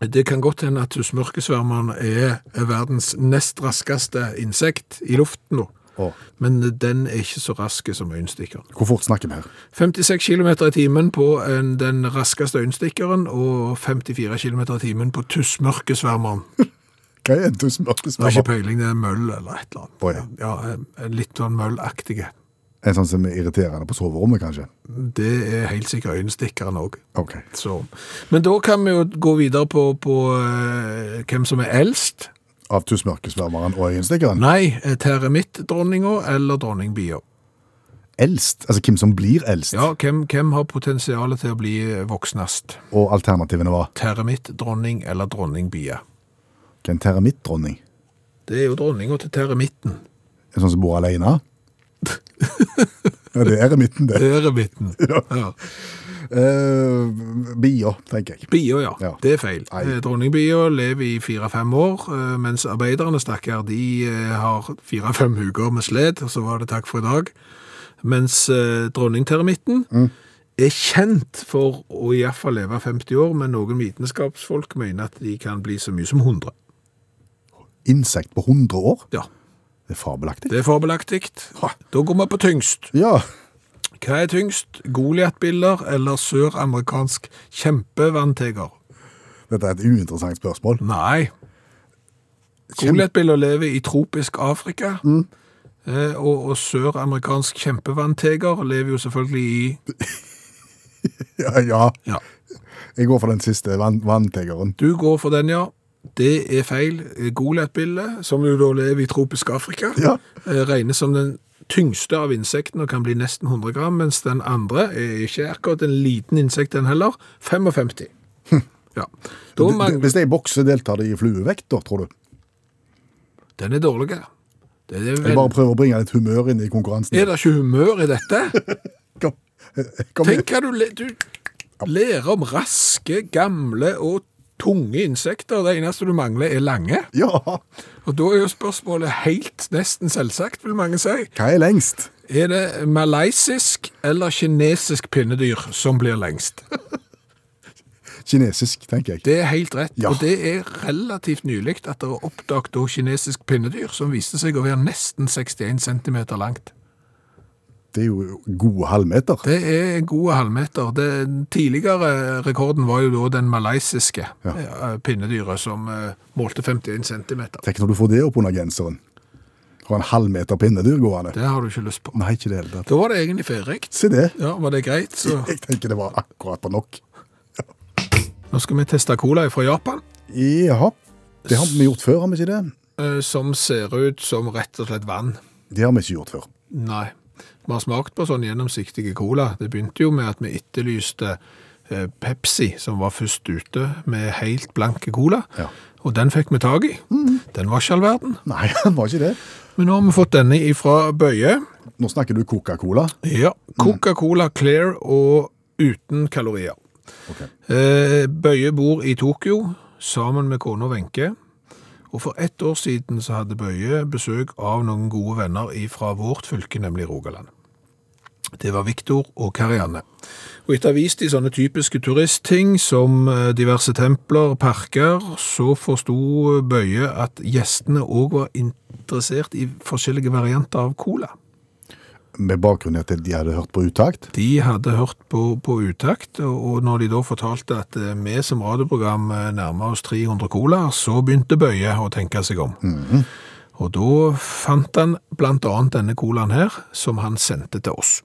Det kan godt hende at tussmørkesvermeren er verdens nest raskeste insekt i luften nå. Å. Men den er ikke så raske som øynstikkeren. Hvor fort snakker vi her? 56 km i timen på en, den raskeste øyenstikkeren, og 54 km i timen på tussmørkesvermeren. Hva er en Det er ikke tussmørkesvermer? peiling, det er møll eller et eller annet. Å, ja. Ja, en litt sånn møllaktige. En sånn som er irriterende på soverommet, kanskje? Det er helt sikkert øyenstikkeren òg. Ok. Så. Men da kan vi jo gå videre på, på eh, hvem som er eldst. Av tussmørkesvermeren og øyenstikkeren? Nei, eh, teremittdronninga eller dronningbia. Eldst? Altså hvem som blir eldst? Ja, hvem, hvem har potensialet til å bli voksnest? Og alternativene var Teremittdronning eller dronningbia? hva en termittdronning? Det er jo dronninga til teremitten. En sånn som bor alene? ja, det er eremitten, det. Øremitten. Ja. Uh, Bia, tenker jeg. Bia, ja. Ja. Det er feil. Nei. Eh, Dronningbia lever i fire-fem år, eh, mens arbeiderne, stakkar, de eh, har fire-fem uker med sled, og så var det takk for i dag. Mens eh, dronningtermitten er kjent for å i hvert fall leve 50 år, men noen vitenskapsfolk mener at de kan bli så mye som 100. Insekt på 100 år? Ja, Det er fabelaktig. det er fabelaktig. Da går vi på tyngst. Ja, Hva er tyngst? Goliat-biller eller søramerikansk kjempevannteger? dette er et uinteressant spørsmål. Nei. Goliatbiller lever i tropisk Afrika. Mm. Eh, og, og søramerikansk kjempevannteger lever jo selvfølgelig i Ja, ja. Ja. Jeg går for den siste vann vanntegeren. Du går for den, ja. Det er feil. Goliatbiller, som jo da lever i tropisk Afrika, Ja. eh, regnes som den tyngste av insektene og kan bli nesten 100 gram, mens den andre er ikke akkurat en liten insekt, den heller. 55. Ja. Da Du- du- mangler Hvis Hm. det er i bokse, deltar det i fluevekt, da, tror du? Den er dårlig. Den er, Jeg bare vel... prøver å bringe litt humør inn i konkurransen. er det ikke humør i dette? Kom, kom igjen. Tenk hva du, le- du lærer om raske, gamle og tunge insekter. Det eneste du mangler er lange. Ja, Og da er jo spørsmålet helt nesten selvsagt, vil mange si. hva er lengst? Er det malaysisk eller kinesisk pinnedyr som blir lengst? Kinesisk, tenker jeg. Det er helt rett, Ja. og det er relativt nylig at det er oppdaget da kinesisk pinnedyr som viste seg å være nesten 61 cm langt. Det er jo gode halvmeter. Det er en god halvmeter. Den tidligere rekorden var jo da den malaysiske eh, pinnedyret som eh, målte 51 cm. Tenk når du får det opp under genseren. Har en halvmeter pinnedyr gående. Det har du ikke lyst på. Nei, ikke det hele tatt. Da var det egentlig ferdig. Se det. Ja, var det greit? Så. Jeg tenker det var akkurat på nok. Nå skal vi teste cola fra Japan, Jaha. Det har vi gjort før, har vi ikke det? eh, som ser ut som rett og slett vann. Det har vi ikke gjort før. Nei. Vi har smakt på sånn gjennomsiktige cola. Det begynte jo med at vi etterlyste eh, Pepsi som var først ute med helt blanke cola. Ja. Og den fikk vi tak i. Den var ikke all verden. Nei, han var ikke det. Men nå har vi fått denne ifra Bøye. Nå snakker du Coca-Cola. Ja, Coca-Cola Clear og uten kalorier. Ok. Eh, Bøye bor i Tokyo sammen med kona Wenche. Og for ett år siden så hadde Bøye besøk av noen gode venner fra vårt fylke, nemlig Rogaland. Det var Viktor og Karianne. Og etter å ha vist de sånne typiske turistting som eh, diverse templer, parker, så forsto Bøye at gjestene òg var interessert i forskjellige varianter av cola. Med bakgrunn i at de hadde hørt på utakt. De hadde hørt på, på utakt, og- og når de da fortalte at eh, vi som radioprogram eh, nærmer oss 300 colaer, så begynte Bøye å tenke seg om. Og da fant han blant annet denne colaen her, som han sendte til oss.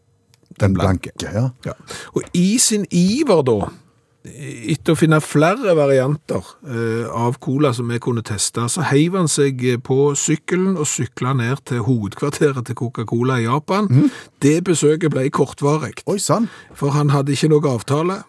Den blanke. ja. Ja. Og i sin iver da, etter å finne flere varianter eh, av cola som vi kunne teste, så heiv han seg på sykkelen og sykla ned til hovedkvarteret til Coca-Cola i Japan. Det besøket ble kortvarig. Oi sann! For han hadde ikke noe avtale,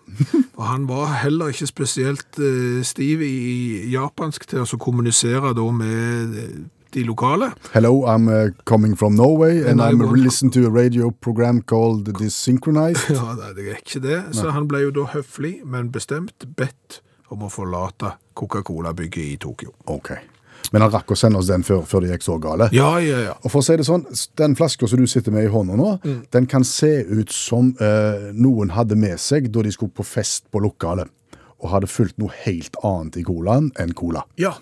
og han var heller ikke spesielt eh, stiv i japansk til å så kommunisere da med eh, de lokale. Hello, I'm uh, coming from Norway, and, And I I'm want- listening to a radio program called Desynchronized. Ja, nei, det er ikke det. Så han ble jo da høflig, men bestemt bedt om å forlate Coca-Cola-bygget i Tokyo. Ok. Men han rakk å sende oss den før, før det gikk så gale. Ja, ja, ja. Og for å si det sånn, s- Den flaska som du sitter med i hånda nå, Mm. den kan se ut som eh, noen hadde med seg da de skulle på fest på lokalet, og hadde fylt noe helt annet i colaen enn cola. Ja,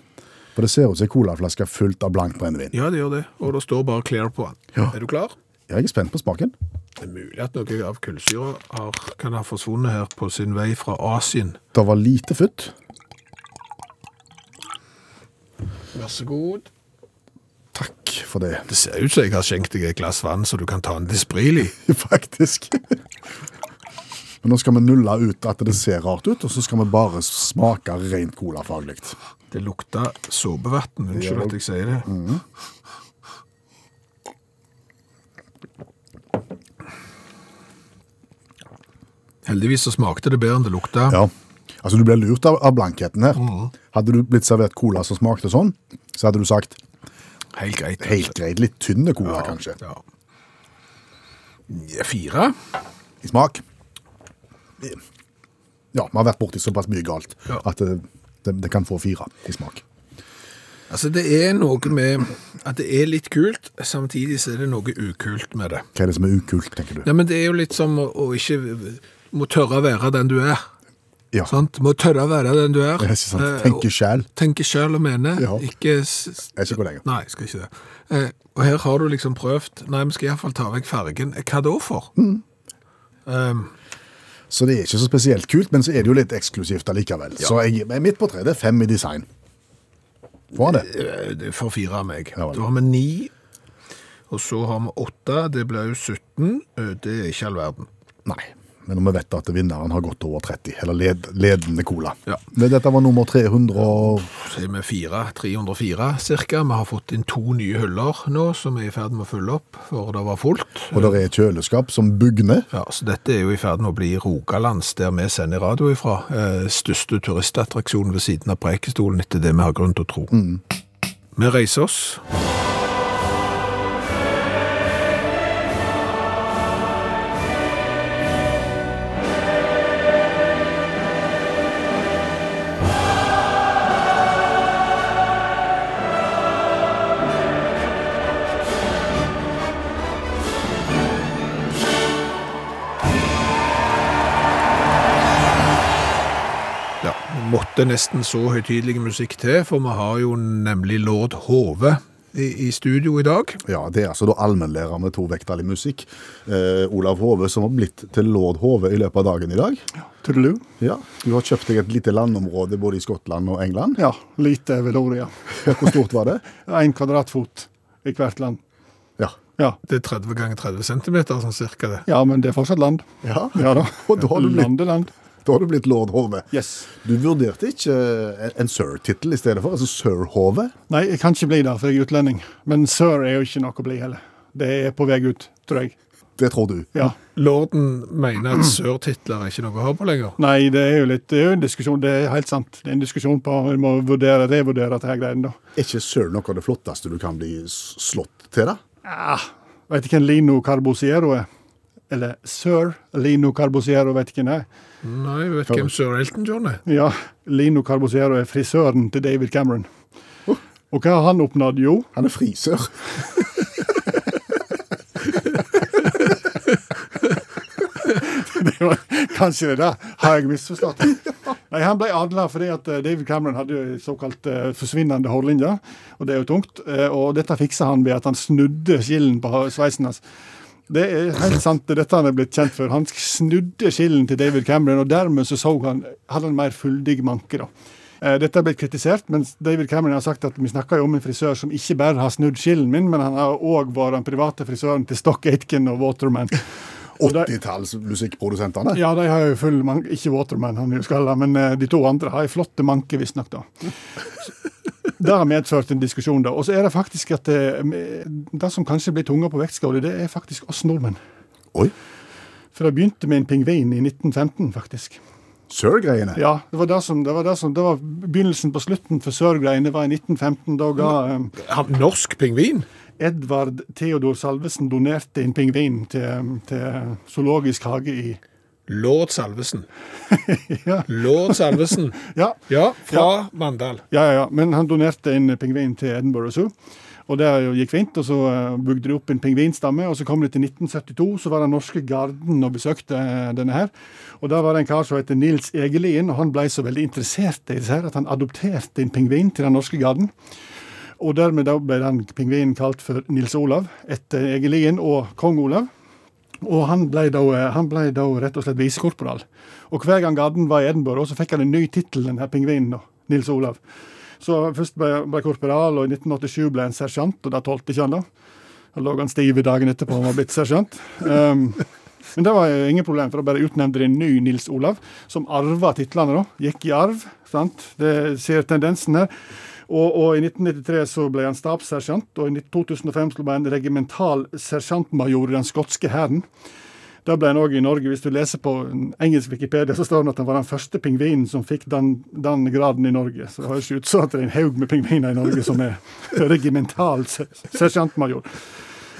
For det ser ut som ei colaflaske fullt av blankt brennevin. ja det gjør det. Og det står bare Claire på den. Ja. Er du klar? Jeg er spent på smaken. Det er mulig at noe av kullsyra har- kan ha forsvunnet her på sin vei fra Asien. Det var lite futt. Vær så god. Takk for det, Det ser ut som jeg har skjenkt deg et glass vann, så du kan ta en Dispril i. faktisk. Men nå skal vi nulle ut at det ser rart ut, og så skal vi bare smake rent colafaglig. Det lukter såpevann. Unnskyld at jeg sier det. Heldigvis så smakte det bedre enn det lukta. Ja. Altså, du ble lurt av, av blankheten her. Mm. Hadde du blitt servert cola som smakte sånn, så hadde du sagt Helt greit. helt greit, litt tynne cola, Ja, kanskje. Ja. Ja, Fire? I smak. Ja, vi har vært borti såpass mye galt Ja. at det, det, det kan få fire i smak. Altså, det er noe med at det er litt kult, samtidig så er det noe ukult med det. Hva er det som er ukult, tenker du? Ja, men det er jo litt som å, å ikke må tørre å være den du er. Ja. Sant? Må tørre å være den du er. Det er ikke sant. Eh, Tenke sjæl. tenke selv og mene. Ja. Ikke s- s- Jeg skal gå lenger. Nei, skal ikke det. Eh, og her har du liksom prøvd Nei, vi skal iallfall ta vekk fargen. Eh, Hva da for? Mm. Um, Så det er ikke så spesielt kult, men så er det jo litt eksklusivt allikevel. Så jeg, men midt på treet er fem i design. Får han det? eh, det får fire av meg. Ja vel. da har vi ni. Og så har vi åtte. Det blir jo 17. Eh, Det er ikke all verden. Nei. Men når vi vet at vinneren har gått over 30, eller led, ledende cola. Ja. Men dette var nummer 300 og Så er vi fire, 304 cirka. Vi har fått inn to nye hyller nå, som er i ferd med å fylle opp, for det var fullt. Og det er et kjøleskap som bugner. Ja, så dette er jo i ferd med å bli Rogalands, der vi sender radio ifra. Eh, største turistattraksjonen ved siden av Preikestolen, etter det vi har grunn til å tro. Vi reiser oss. Ja, vi måtte nesten så høytidelig musikk til, for vi har jo nemlig Lord Hove i, i studio i dag. Ja, Det er altså da allmennlærer med to vekttall i musikk, eh, Olav Hove, som har blitt til lord Hove i løpet av dagen i dag. Tudelu. Ja, Du har kjøpt deg et lite landområde både i Skottland og England. Ja, lite Veloria. Ja, Hvor stort var det? Én kvadratfot i hvert land. Ja. Ja. Det er 30 ganger 30 centimeter, sånn cirka det. ja, men det er fortsatt land. Ja. Ja da. Og da har du blitt- Land er land. Da har du blitt lord Hove. Yes. Du vurderte ikke eh, en sir-tittel i stedet for? Altså sir Hove? Nei, jeg kan ikke bli der, for jeg er utlending. Men sør er jo ikke noe å bli heller. Det er på vei ut, tror jeg. Det tror du. Ja. Lorden mener at sør-titler er ikke noe å ha på lenger. Nei, det er jo litt, det er jo en diskusjon. Det er helt sant. Det er en diskusjon på Vi må vurdere, revurdere dette her greiene, da. Er ikke søl noe av det flotteste du kan bli s- slått til, da? Ah, vet ikke hvem Lino Carbosiero er? Eller sir Lino Carbosiero, vet ikke hvem det er. Nei, jeg vet hvem sir Elton John er. Ja, Lino Carbosiero er frisøren til David Cameron. Oh. Og hva har han oppnådd? Jo, Han er frisør. det var, kanskje det der. Har jeg misforstått? Nei, Han ble adla fordi at eh, David Cameron hadde jo såkalt eh, forsvinnende hårlinje, og det er jo tungt. eh, og dette fiksa han ved at han snudde skillen på ha- sveisen hans. Det er helt sant, det er dette han er blitt kjent for. Han snudde skillen til David Cameron, og dermed så, så han, hadde han mer fyldig manke. da. Eh, Dette er blitt kritisert, mens David Cameron har sagt at vi snakker jo om en frisør som ikke bare har snudd skillen min, men han har òg vært den private frisøren til Stock Aitken og Waterman. Og det- 80-tallsmusikkprodusentene. ja, de har jo full manke. Ikke Waterman, han er jo skalla, men eh, de to andre har ei flotte manke, visstnok. da. Det har medført en diskusjon, da. Og så er det faktisk at det, det som kanskje blir tunga på vektskåla, det er faktisk oss nordmenn. Oi, For det begynte med en pingvin i 1915, faktisk. sør-greiene. Ja, Det var det som, det var det som, det var begynnelsen på slutten for sørgreiene var i 1915. Da ga eh, Han- Norsk pingvin? Edvard Theodor Salvesen donerte en pingvin til, til zoologisk hage i Lord Salvesen. Ja. Lord Salvesen. Ja, Ja, fra Mandal. Ja, ja, ja. Men han donerte en pingvin til Edinburgh Zoo. Og det gikk fint, og så eh, bygde de opp en pingvinstamme. Og så kom det til 1972, så var den norske garden og besøkte eh, denne her. Og der var det en kar som heter Nils Egelien, og han ble så veldig interessert i disse her at han adopterte en pingvin til den norske garden. Og dermed da ble den pingvinen kalt for Nils Olav etter Egelien og kong Olav. Og han ble, da, eh, han ble da rett og slett visekorporal. Og hver gang Garden var i Edinburgh, så fikk han en ny tittel, denne pingvinen, da, Nils Olav. Så først ble, ble korporal, og i 1987 ble han sersjant, og det tålte ikke han da. Da lå han stiv i dagen etterpå han var blitt sersjant. Um, men det var jo ingen problem, for da bare utnevnte de en ny Nils Olav, som arva titlene, da. Gikk i arv, sant. Det ser tendensen her. Og, og i 1993 så ble han stabssersjant, og i 2005 så ble han regimental sersjantmajor i den skotske hæren. Da ble han òg i Norge. Hvis du leser på en engelsk Wikipedia, så står det at han var den første pingvinen som fikk den, den graden i Norge. Så det høres jo ut som at det er en haug med pingviner i Norge som er regimental ser- sersjantmajor.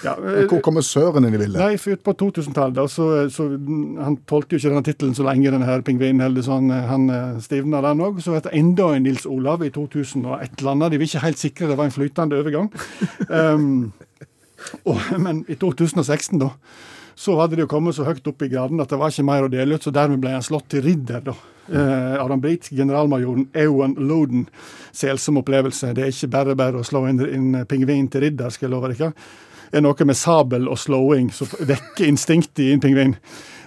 Ja, eh, Hvor kommer søren inn i bildet? Nei, for ut på 2000-tallet da, så, eh, så mm, han tålte jo ikke denne tittelen så lenge, denne her pingvinen heller, så han, han eh, stivna den òg. Så het det enda en Nils Olav i 2000 og et eller annet. De var ikke helt sikre, det var en flytende overgang. Um, og, men i 2016, da, så hadde det jo kommet så høyt opp i graden at det var ikke mer å dele ut, så dermed ble han slått til ridder, da. Eh, av den britiske generalmajoren Ewan Loden. Selsom opplevelse. Det er ikke bare bare å slå en, en pingvin til ridder, skal jeg love dere. Det er noe med sabel og slåing som vekker instinktet i en pingvin.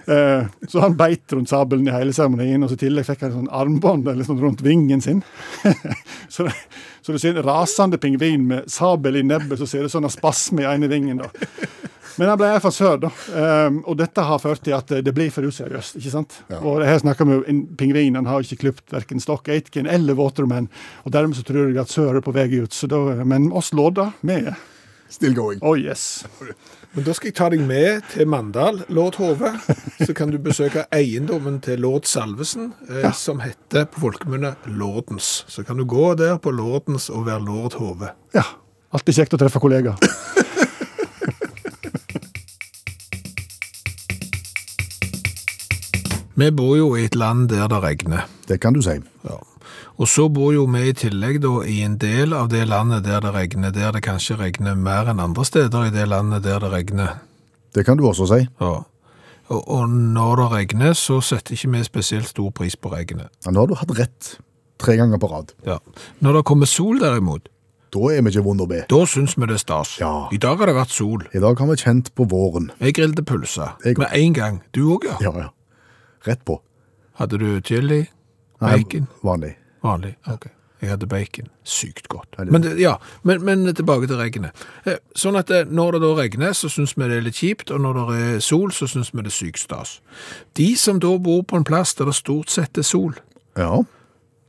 Eh, så han beit rundt sabelen i hele seremonien, og så i tillegg fikk han sånn armbånd eller sånn rundt vingen sin. så, det, så du ser en rasende pingvin med sabel i nebbet, så ser det sånn en spasme i ene vingen. da. Men han ble her fra sør, da. Ehm, og dette har ført til at det blir for useriøst. ikke sant? Og her snakker vi om en pingvin. Han har ikke klipt verken Stock Aitken eller Waterman. Og dermed så tror jeg at sør er på vei ut. Så da, men oss lodder, vi er Still going. Oh yes. Men da skal jeg ta deg med til Mandal, lord Hove. Så kan du besøke eiendommen til lord Salvesen, eh, som heter på folkemunne Lordens. Så kan du gå der på Lordens og være lord Hove. Ja. Alltid kjekt å treffe kollegaer. Vi bor jo i et land der det regner. Det kan du si. Ja. Og så bor jo vi i tillegg da i en del av det landet der det regner, der det kanskje regner mer enn andre steder i det landet der det regner. Det kan du også si. Ja. Og, og når det regner, så setter ikke vi spesielt stor pris på regnet. Ja, nå har du hatt rett tre ganger på rad. Ja. Når det kommer sol derimot, Da er vi ikke vonde å be. da syns vi det er stas. Ja. I dag har det vært sol. I dag har vi kjent på våren. Jeg grilte pølse. Det er godt. Med en gang. Du òg, ja. Ja, ja. Rett på. Hadde du chili? Nei, Bacon? Vanlig. Vanlig. Ok. Jeg hadde bacon. Sykt godt. det- Men, det- ja, men, men tilbake til regnet. Eh, Sånn at eh, når det da regner, så syns vi det er litt kjipt, og når det er sol, så syns vi det er sykt stas. De som da bor på en plass der det stort sett er sol, Ja.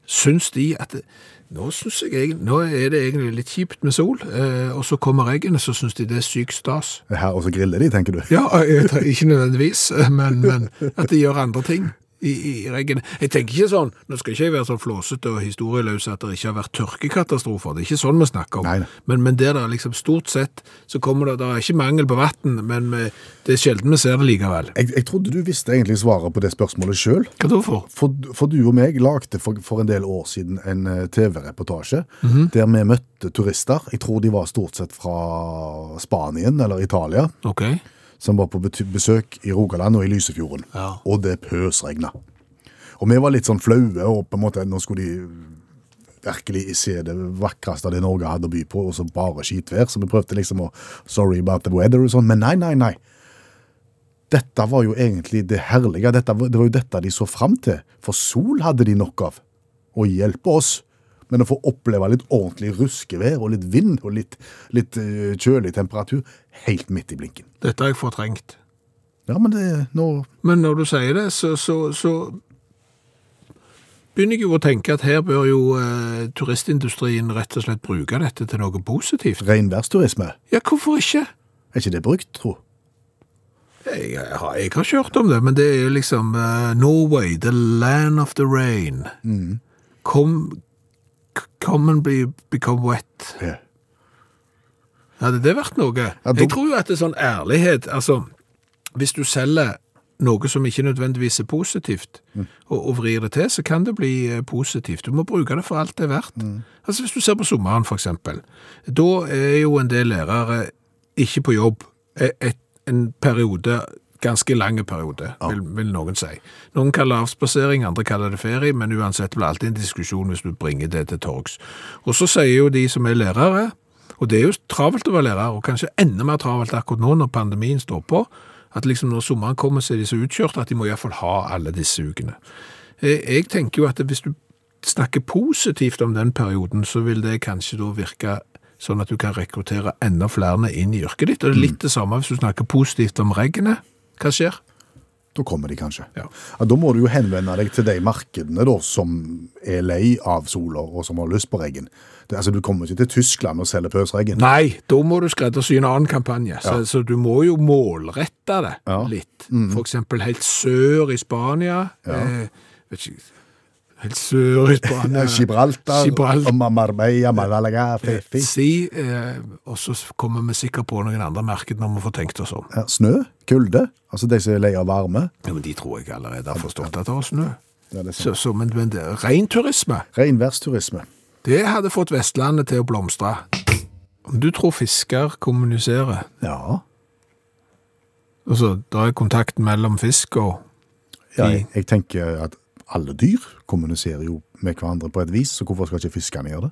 syns de at det, Nå, synes jeg, egent- nå er det egentlig litt kjipt med sol, eh, og så kommer reggene, så syns de det er sykt stas. Her, og så griller de, tenker du. Ja, jeg tre- ikke nødvendigvis, men, men at de gjør andre ting i, i reggen. Jeg tenker ikke sånn, nå skal ikke jeg være så flåsete og historieløs at det ikke har vært tørkekatastrofer, det er ikke sånn vi snakker Nei, om. nei. Men, men der det er liksom stort sett, så kommer det, det er ikke mangel på vatten, men eh, det er sjelden vi ser det likevel. Jeg, jeg trodde du visste egentlig svaret på det spørsmålet sjøl. Hva da for? For, for du og meg lagde for, for en del år siden en eh, TV-reportasje der vi møtte turister. Jeg tror de var stort sett fra Spanien eller Italia, Ok. som var på bety- besøk i Rogaland og i Lysefjorden. Ja. Og det pøsregna. Og vi var litt sånn flaue, og på en måte nå skulle de virkelig se det vakreste av det Norge hadde å by på, og så bare skitvær. Så vi prøvde liksom å Sorry about the weather og sånn, men nei, nei, nei dette var jo egentlig det herlige. Dette, var- det var jo dette de så fram til. For sol hadde de nok av. Å hjelpe oss. Men å få oppleve litt ordentlig ruskevær og litt vind og litt, litt eh, kjølig temperatur helt midt i blinken. Dette har jeg fortrengt. Ja, men det nå Men når du sier det, så, så, så begynner jeg jo å tenke at her bør jo eh, turistindustrien rett og slett bruke dette til noe positivt. Regnværsturisme, Ja, hvorfor ikke? er ikke det brukt, tro? Jeg, jeg, har, jeg har ikke hørt om det, men det er liksom eh, Norway, the land of the rain. Come, c- come and be, become wet. Ja. Hadde det vært noe? Ja, da- Jeg tror jo at det er sånn ærlighet, altså, hvis du selger noe som ikke nødvendigvis er positivt, Mm. og, og vrir det til, så kan det bli eh, positivt. Du må bruke det for alt det er verdt. Mm. Altså, hvis du ser på sommeren, for eksempel, da er jo en del lærere ikke på jobb e- et, en periode, ganske lang periode, vil, vil noen si. Noen kaller det avspasering, andre kaller det ferie, men uansett blir det alltid en diskusjon hvis du bringer det til torgs. Og så sier jo de som er lærere, og det er jo travelt å være lærer, og kanskje enda mer travelt akkurat nå når pandemien står på, at liksom når sommeren kommer så er de så utkjørt at de må i hvert fall ha alle disse ukene. Eh, Jeg tenker jo at hvis du snakker positivt om den perioden, så vil det kanskje da virke sånn at du kan rekruttere enda flere inn i yrket ditt, og det er litt det samme hvis du snakker positivt om reggene. Hva skjer? Da kommer de kanskje. Ja. Ja, da må du jo henvende deg til de markedene da, som er lei av sola, og som har lyst på regn. Det, altså, du kommer ikke til Tyskland og selger pøsregn. Nei, da må du skreddersy en annen kampanje. Så, så du må jo målrette det Ja. Mm. litt. For eksempel helt sør i Spania. Eh, vet ikke, helt sør i Spania. Gibraltar, Gibraltar. og Marbella, Malaga, Fifi. Si, eh, og så kommer vi sikkert på noen andre merker når vi får tenkt oss om. Ja, snø, kulde, altså de som er lei av varme. Ja, men De tror jeg allerede har forstått at det var snø. Ja, det er Så, så, men men det, reinturisme, Regnværsturisme. det hadde fått Vestlandet til å blomstre. Om du tror fisker kommuniserer Ja. Altså, da er kontakten mellom fisk og jeg, jeg tenker at alle dyr kommuniserer jo med hverandre på et vis, så hvorfor skal ikke fiskene gjøre det?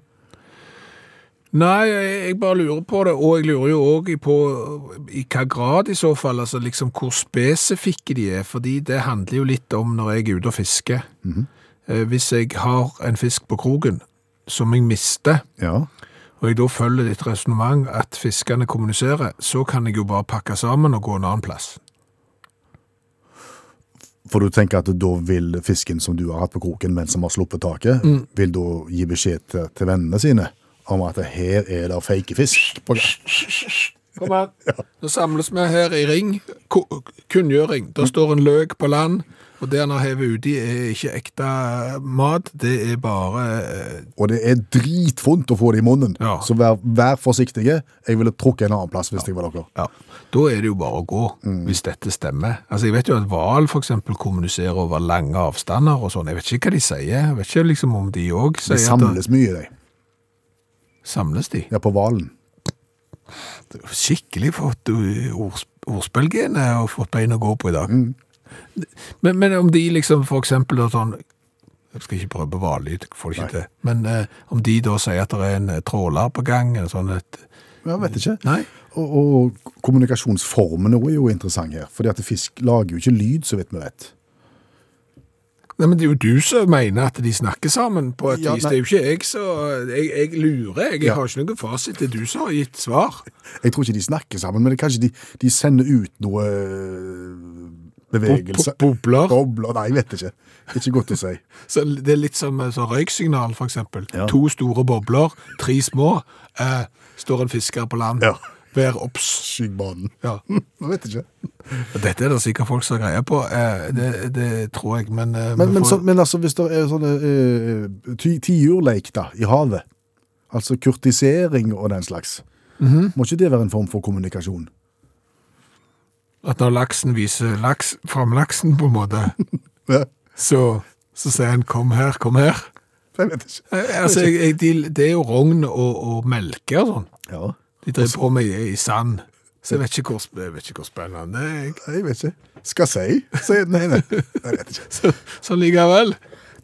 Nei, jeg jeg bare lurer på det, og jeg lurer jo òg på i hva grad i så fall, altså liksom hvor spesifikke de er, fordi det handler jo litt om når jeg er ute og fisker. Eh, Hvis jeg har en fisk på kroken som jeg mister, Ja, og jeg da følger ditt resonnement at fiskene kommuniserer, så kan jeg jo bare pakke sammen og gå en annen plass. for du tenker at da vil fisken som du har hatt på kroken, men som har sluppet taket, vil da gi beskjed til, til vennene sine om at her er det fake fisk. På gang. Kom her. Nå samles vi her i ring. Ko- Kunngjøring. Der står en løk på land, og det han har hevet uti, er ikke ekte mat, det er bare eh, Og det er dritvondt å få det i munnen, Ja. så vær, vær forsiktige. Jeg ville trukket en annen plass hvis jeg var dere. Ja, da er det jo bare å gå, hvis dette stemmer. Altså, jeg vet jo at Val for eksempel kommuniserer over lange avstander og sånn. Jeg vet ikke hva de sier. Jeg vet ikke liksom om de òg sier De samles mye, de. At, samles de? Ja, på hvalen. Skikkelig fått uh, ords, ordspillgene og fått bein å gå på i dag. Men, men om de liksom for eksempel da sånn Jeg skal ikke prøve hvallyd, får det ikke til. Men eh, om de da sier at det er en eh, tråler på gang, en sånn et Jeg vet ikke. Nei. Og, og kommunikasjonsformen også er jo interessant her, fordi at fisk lager jo ikke lyd, så vidt vi vet. Nei, men Det er jo du som mener at de snakker sammen på et Ja, vis. Det nei. er jo ikke jeg som jeg, jeg lurer. Jeg, Ja. har ikke noen fasit. Det er du som har gitt svar. Jeg tror ikke de snakker sammen, men det er kanskje de, de sender ut noe øh, bevegelse. Bo- bo- bobler. Bobler, Nei, jeg vet ikke. Ikke godt å si. Så det er litt som eh, så røyksignal, for eksempel. Ja. To store bobler, tre små. Eh, står en fisker på land. Ja. Vær obs. Skyggebanen. Ja. Jeg vet ikke. Og Dette er det sikkert folk som har greie på. Eh, det, det tror jeg, men, eh, Men, vi men, får- så, men altså, hvis det er sånne eh, ti- tiurleik da, i havet, altså kurtisering og den slags, må ikke det være en form for kommunikasjon? At når laksen viser laks, fram laksen, på en måte, Ja, så, så sier han 'kom her, kom her'. jeg vet ikke. Eh, Altså, jeg, jeg, de, det er jo rogn og, og melke og sånn. Ja, De driver på med i, i sand. Så jeg vet ikke hvor, sp- jeg vet ikke hvor spennende det er. jeg. jeg vet ikke. Skal si? Si- Nei, nei, jeg vet ikke. Så, så likevel.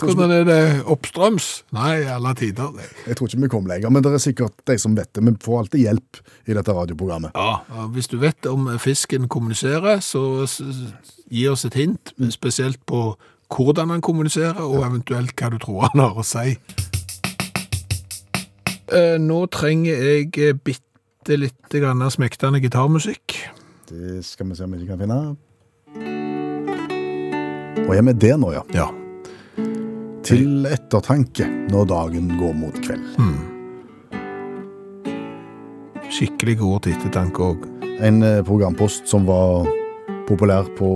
Hvordan er det oppstrøms? Nei, i alle tider. det. Jeg tror ikke vi kom lenger, men det er sikkert de som vet det. Vi får alltid hjelp i dette radioprogrammet. Ja, Hvis du vet om fisken kommuniserer, så s- s- gi oss et hint, spesielt på hvordan han kommuniserer, og eventuelt hva du tror han har å si. Eh, Nå trenger jeg eh, bitte litt grann smektende gitarmusikk. Det skal vi se om vi ikke kan finne. Og jeg er med det nå, ja. Ja. Til ettertanke når dagen går mot kveld. Skikkelig god til ettertanke òg. En eh, programpost som var populær på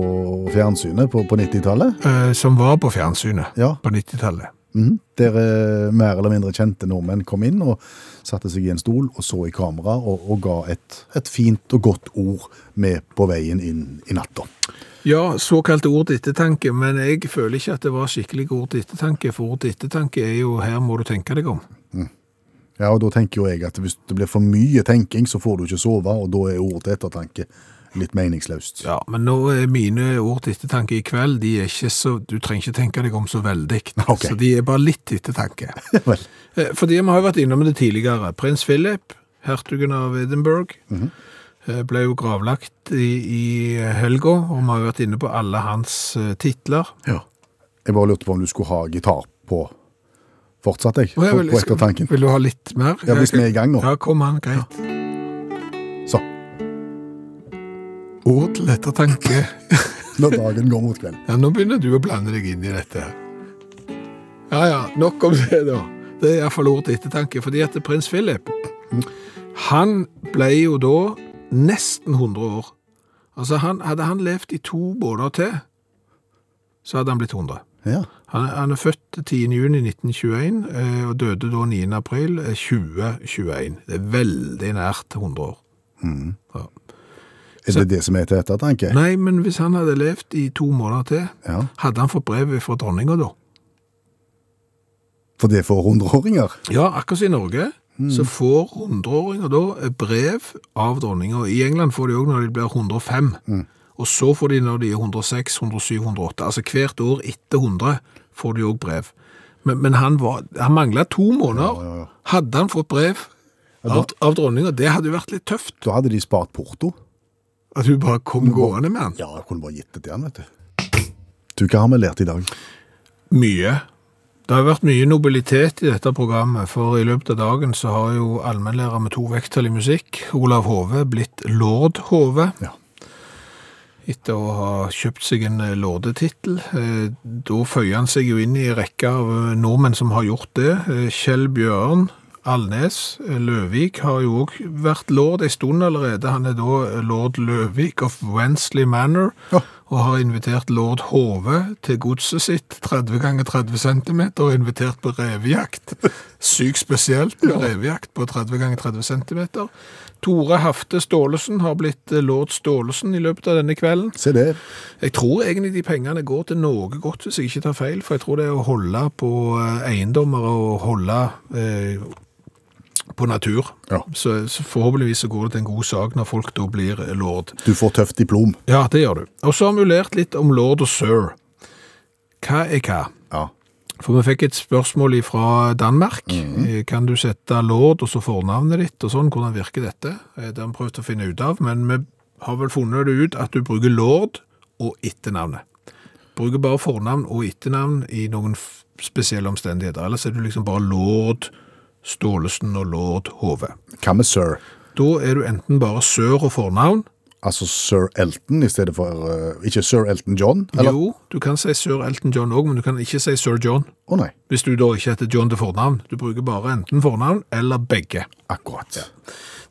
fjernsynet på, på 90-tallet. Eh, Som var på fjernsynet Ja. på 90-tallet. mhm. Der eh, mer eller mindre kjente nordmenn kom inn og satte seg i en stol og så i kamera og, og ga et, et fint og godt ord med på veien inn i natta. Ja, såkalte ord til ettertanke, men jeg føler ikke at det var skikkelig ord til ettertanke, for ord til ettertanke er jo 'her må du tenke deg om'. Ja, og da tenker jo jeg at hvis det blir for mye tenking, så får du ikke sove, og da er ordet til ettertanke litt meningsløst. Ja, men nå er mine ord til ettertanke i kveld, de er ikke så, du trenger ikke tenke deg om så veldig. Ok. Så de er bare litt til ettertanke. Vel. Eh, Fordi vi har jo vært innom det tidligere. Prins Philip, hertugen av Edinburgh, eh, ble jo gravlagt i, i helga, og vi har jo vært inne på alle hans eh, titler. Ja. Jeg bare lurte på om du skulle ha gitar på fortsatt, jeg. liksom- Og jeg På, vil- på ettertanken. Vil du ha litt mer? Ja, hvis vi er i gang nå. Ja, kom an, greit. Så, Ord til ettertanke. når dagen går mot kveld. Ja, nå begynner du å blande deg inn i dette. her. Ja, ja, nok om det da. Det er iallfall ord til ettertanke, fordi at prins Philip, han ble jo da nesten 100 år. Altså, han, hadde han levd i to båter til, så hadde han blitt 100. Ja. Han, er- han er født 10. juni 1921, eh, og døde da 9. april eh, 2021. Det er veldig nært 100 år. Er det det som er til ettertanke? Nei, men hvis han hadde levd i to måneder til, Ja. hadde han fått brev fra dronninga da? For det er for hundreåringer. Ja, akkurat som i Norge, Mm. så får 100-åringer da et brev av dronninga. I England får de òg når de blir 105. Mm. Og så får de når de er 106, 107, 108. Altså hvert år etter 100 får de òg brev. Men, men han, var- han mangla to måneder. Ja, ja, ja. Hadde han fått brev av, av dronninga, det hadde jo vært litt tøft. Da hadde de spart porto. At hun bare kom gående med han. Ja, jeg kunne bare gitt det til han, vet du. Du, hva har vi lært i dag? Mye. Det har vært mye nobilitet i dette programmet, for i løpet av dagen så har jo allmennlærer med to vekttall i musikk, Olav Hove, blitt lord Hove. Ja. Etter å ha kjøpt seg en eh, lordetittel. Eh, Da føyer han seg jo inn i rekka av eh, nordmenn som har gjort det. Eh, Kjell Bjørn, Alnes, eh, Løvik har jo òg vært lord en stund allerede. Han er da eh, lord Løvik of Wensley Manor, Ja. og har invitert lord Hove til godset sitt, 30 ganger 30 cm, og invitert på revejakt. Sykt spesielt med revejakt på 30 ganger 30 cm. Tore Hafte Stålesen har blitt eh, lord Stålesen i løpet av denne kvelden. Se det. Jeg tror egentlig de pengene går til noe godt, hvis jeg ikke tar feil, for jeg tror det er å holde på eh, eiendommer og holde eh, på natur. Ja. Så, så forhåpentligvis så går det til en god sak når folk da blir eh, lord. Du får tøft diplom. Ja, det gjør du. Og så har vi jo lært litt om lord og sir. Hva er hva? Ja. For vi fikk et spørsmål fra Danmark. Eh, Kan du sette lord og så fornavnet ditt og sånn? Hvordan virker dette? Eh, Det har vi prøvd å finne ut av, men vi har vel funnet det ut at du bruker lord og etternavnet. Bruker bare fornavn og etternavn i noen f- spesielle omstendigheter. Ellers er du liksom bare lord Stålesen og lord Hove. Hva med sir? Da er du enten bare sør og fornavn, altså sir Elton i stedet for eh, Ikke sir Elton John? Eller? Å Jo, du kan si sir Elton John òg, men du kan ikke si sir John. nei, Hvis du da ikke heter John til fornavn. Du bruker bare enten fornavn eller begge. akkurat.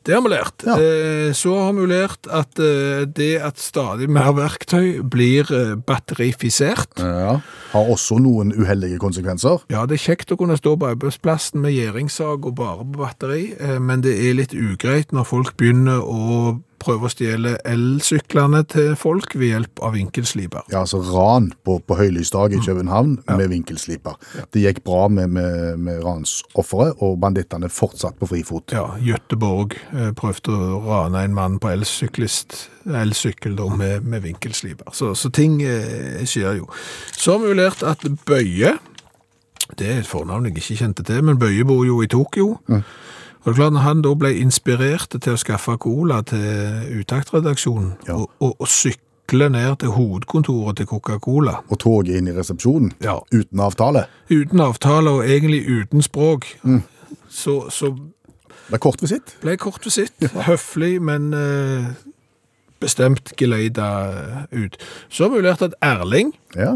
Det har vi lært. Ja. Eh, Så har vi lært at eh, det at stadig mer verktøy blir eh, batterifisert Ja. Har også noen uheldige konsekvenser. Ja, det er kjekt å kunne stå på arbeidsplassen med gjæringssag og bare på batteri, eh, men det er litt ugreit når folk begynner å prøve å stjele elsyklene til folk ved hjelp av vinkelsliper. Ja, altså ran på, på høylysdag Mm. i København med vinkelsliper. Det gikk bra med, med, med ransofferet, og bandittene fortsatt på frifot. Ja, Gøteborg eh, prøvde å rane en mann på elsyklist, elsykkel da, med, med vinkelsliper. Så, så ting eh, skjer jo. Så har vi jo lært at Bøye, det er et fornavn jeg ikke kjente til, men Bøye bor jo i Tokyo. Og det er klart, når han da ble inspirert til å skaffe cola til utaktredaksjonen, og, og, og sykle ned til hovedkontoret til Coca-Cola, Og toget inn i resepsjonen Ja. uten avtale. uten avtale og egentlig uten språk, så, så Det er kort visitt. Ble kort visitt, høflig, men eh, bestemt geleida ut. Så har vi jo lært at Erling, Ja.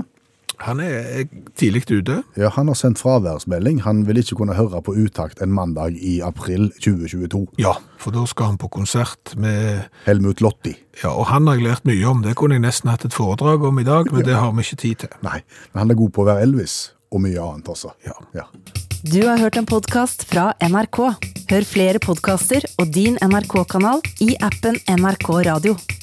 han er, er tidlig ute. ja, han har sendt fraværsmelding. Han vil ikke kunne høre på utakt en mandag i april 2022. Ja, for da skal han på konsert med Helmut Lotti. Ja, og han har jeg lært mye om, det kunne jeg nesten hatt et foredrag om i dag, men det har vi ikke tid til. Nei, men han er god på å være Elvis, og mye annet også. Ja. Du har hørt en podkast fra NRK. Hør flere podkaster og din NRK-kanal i appen NRK Radio.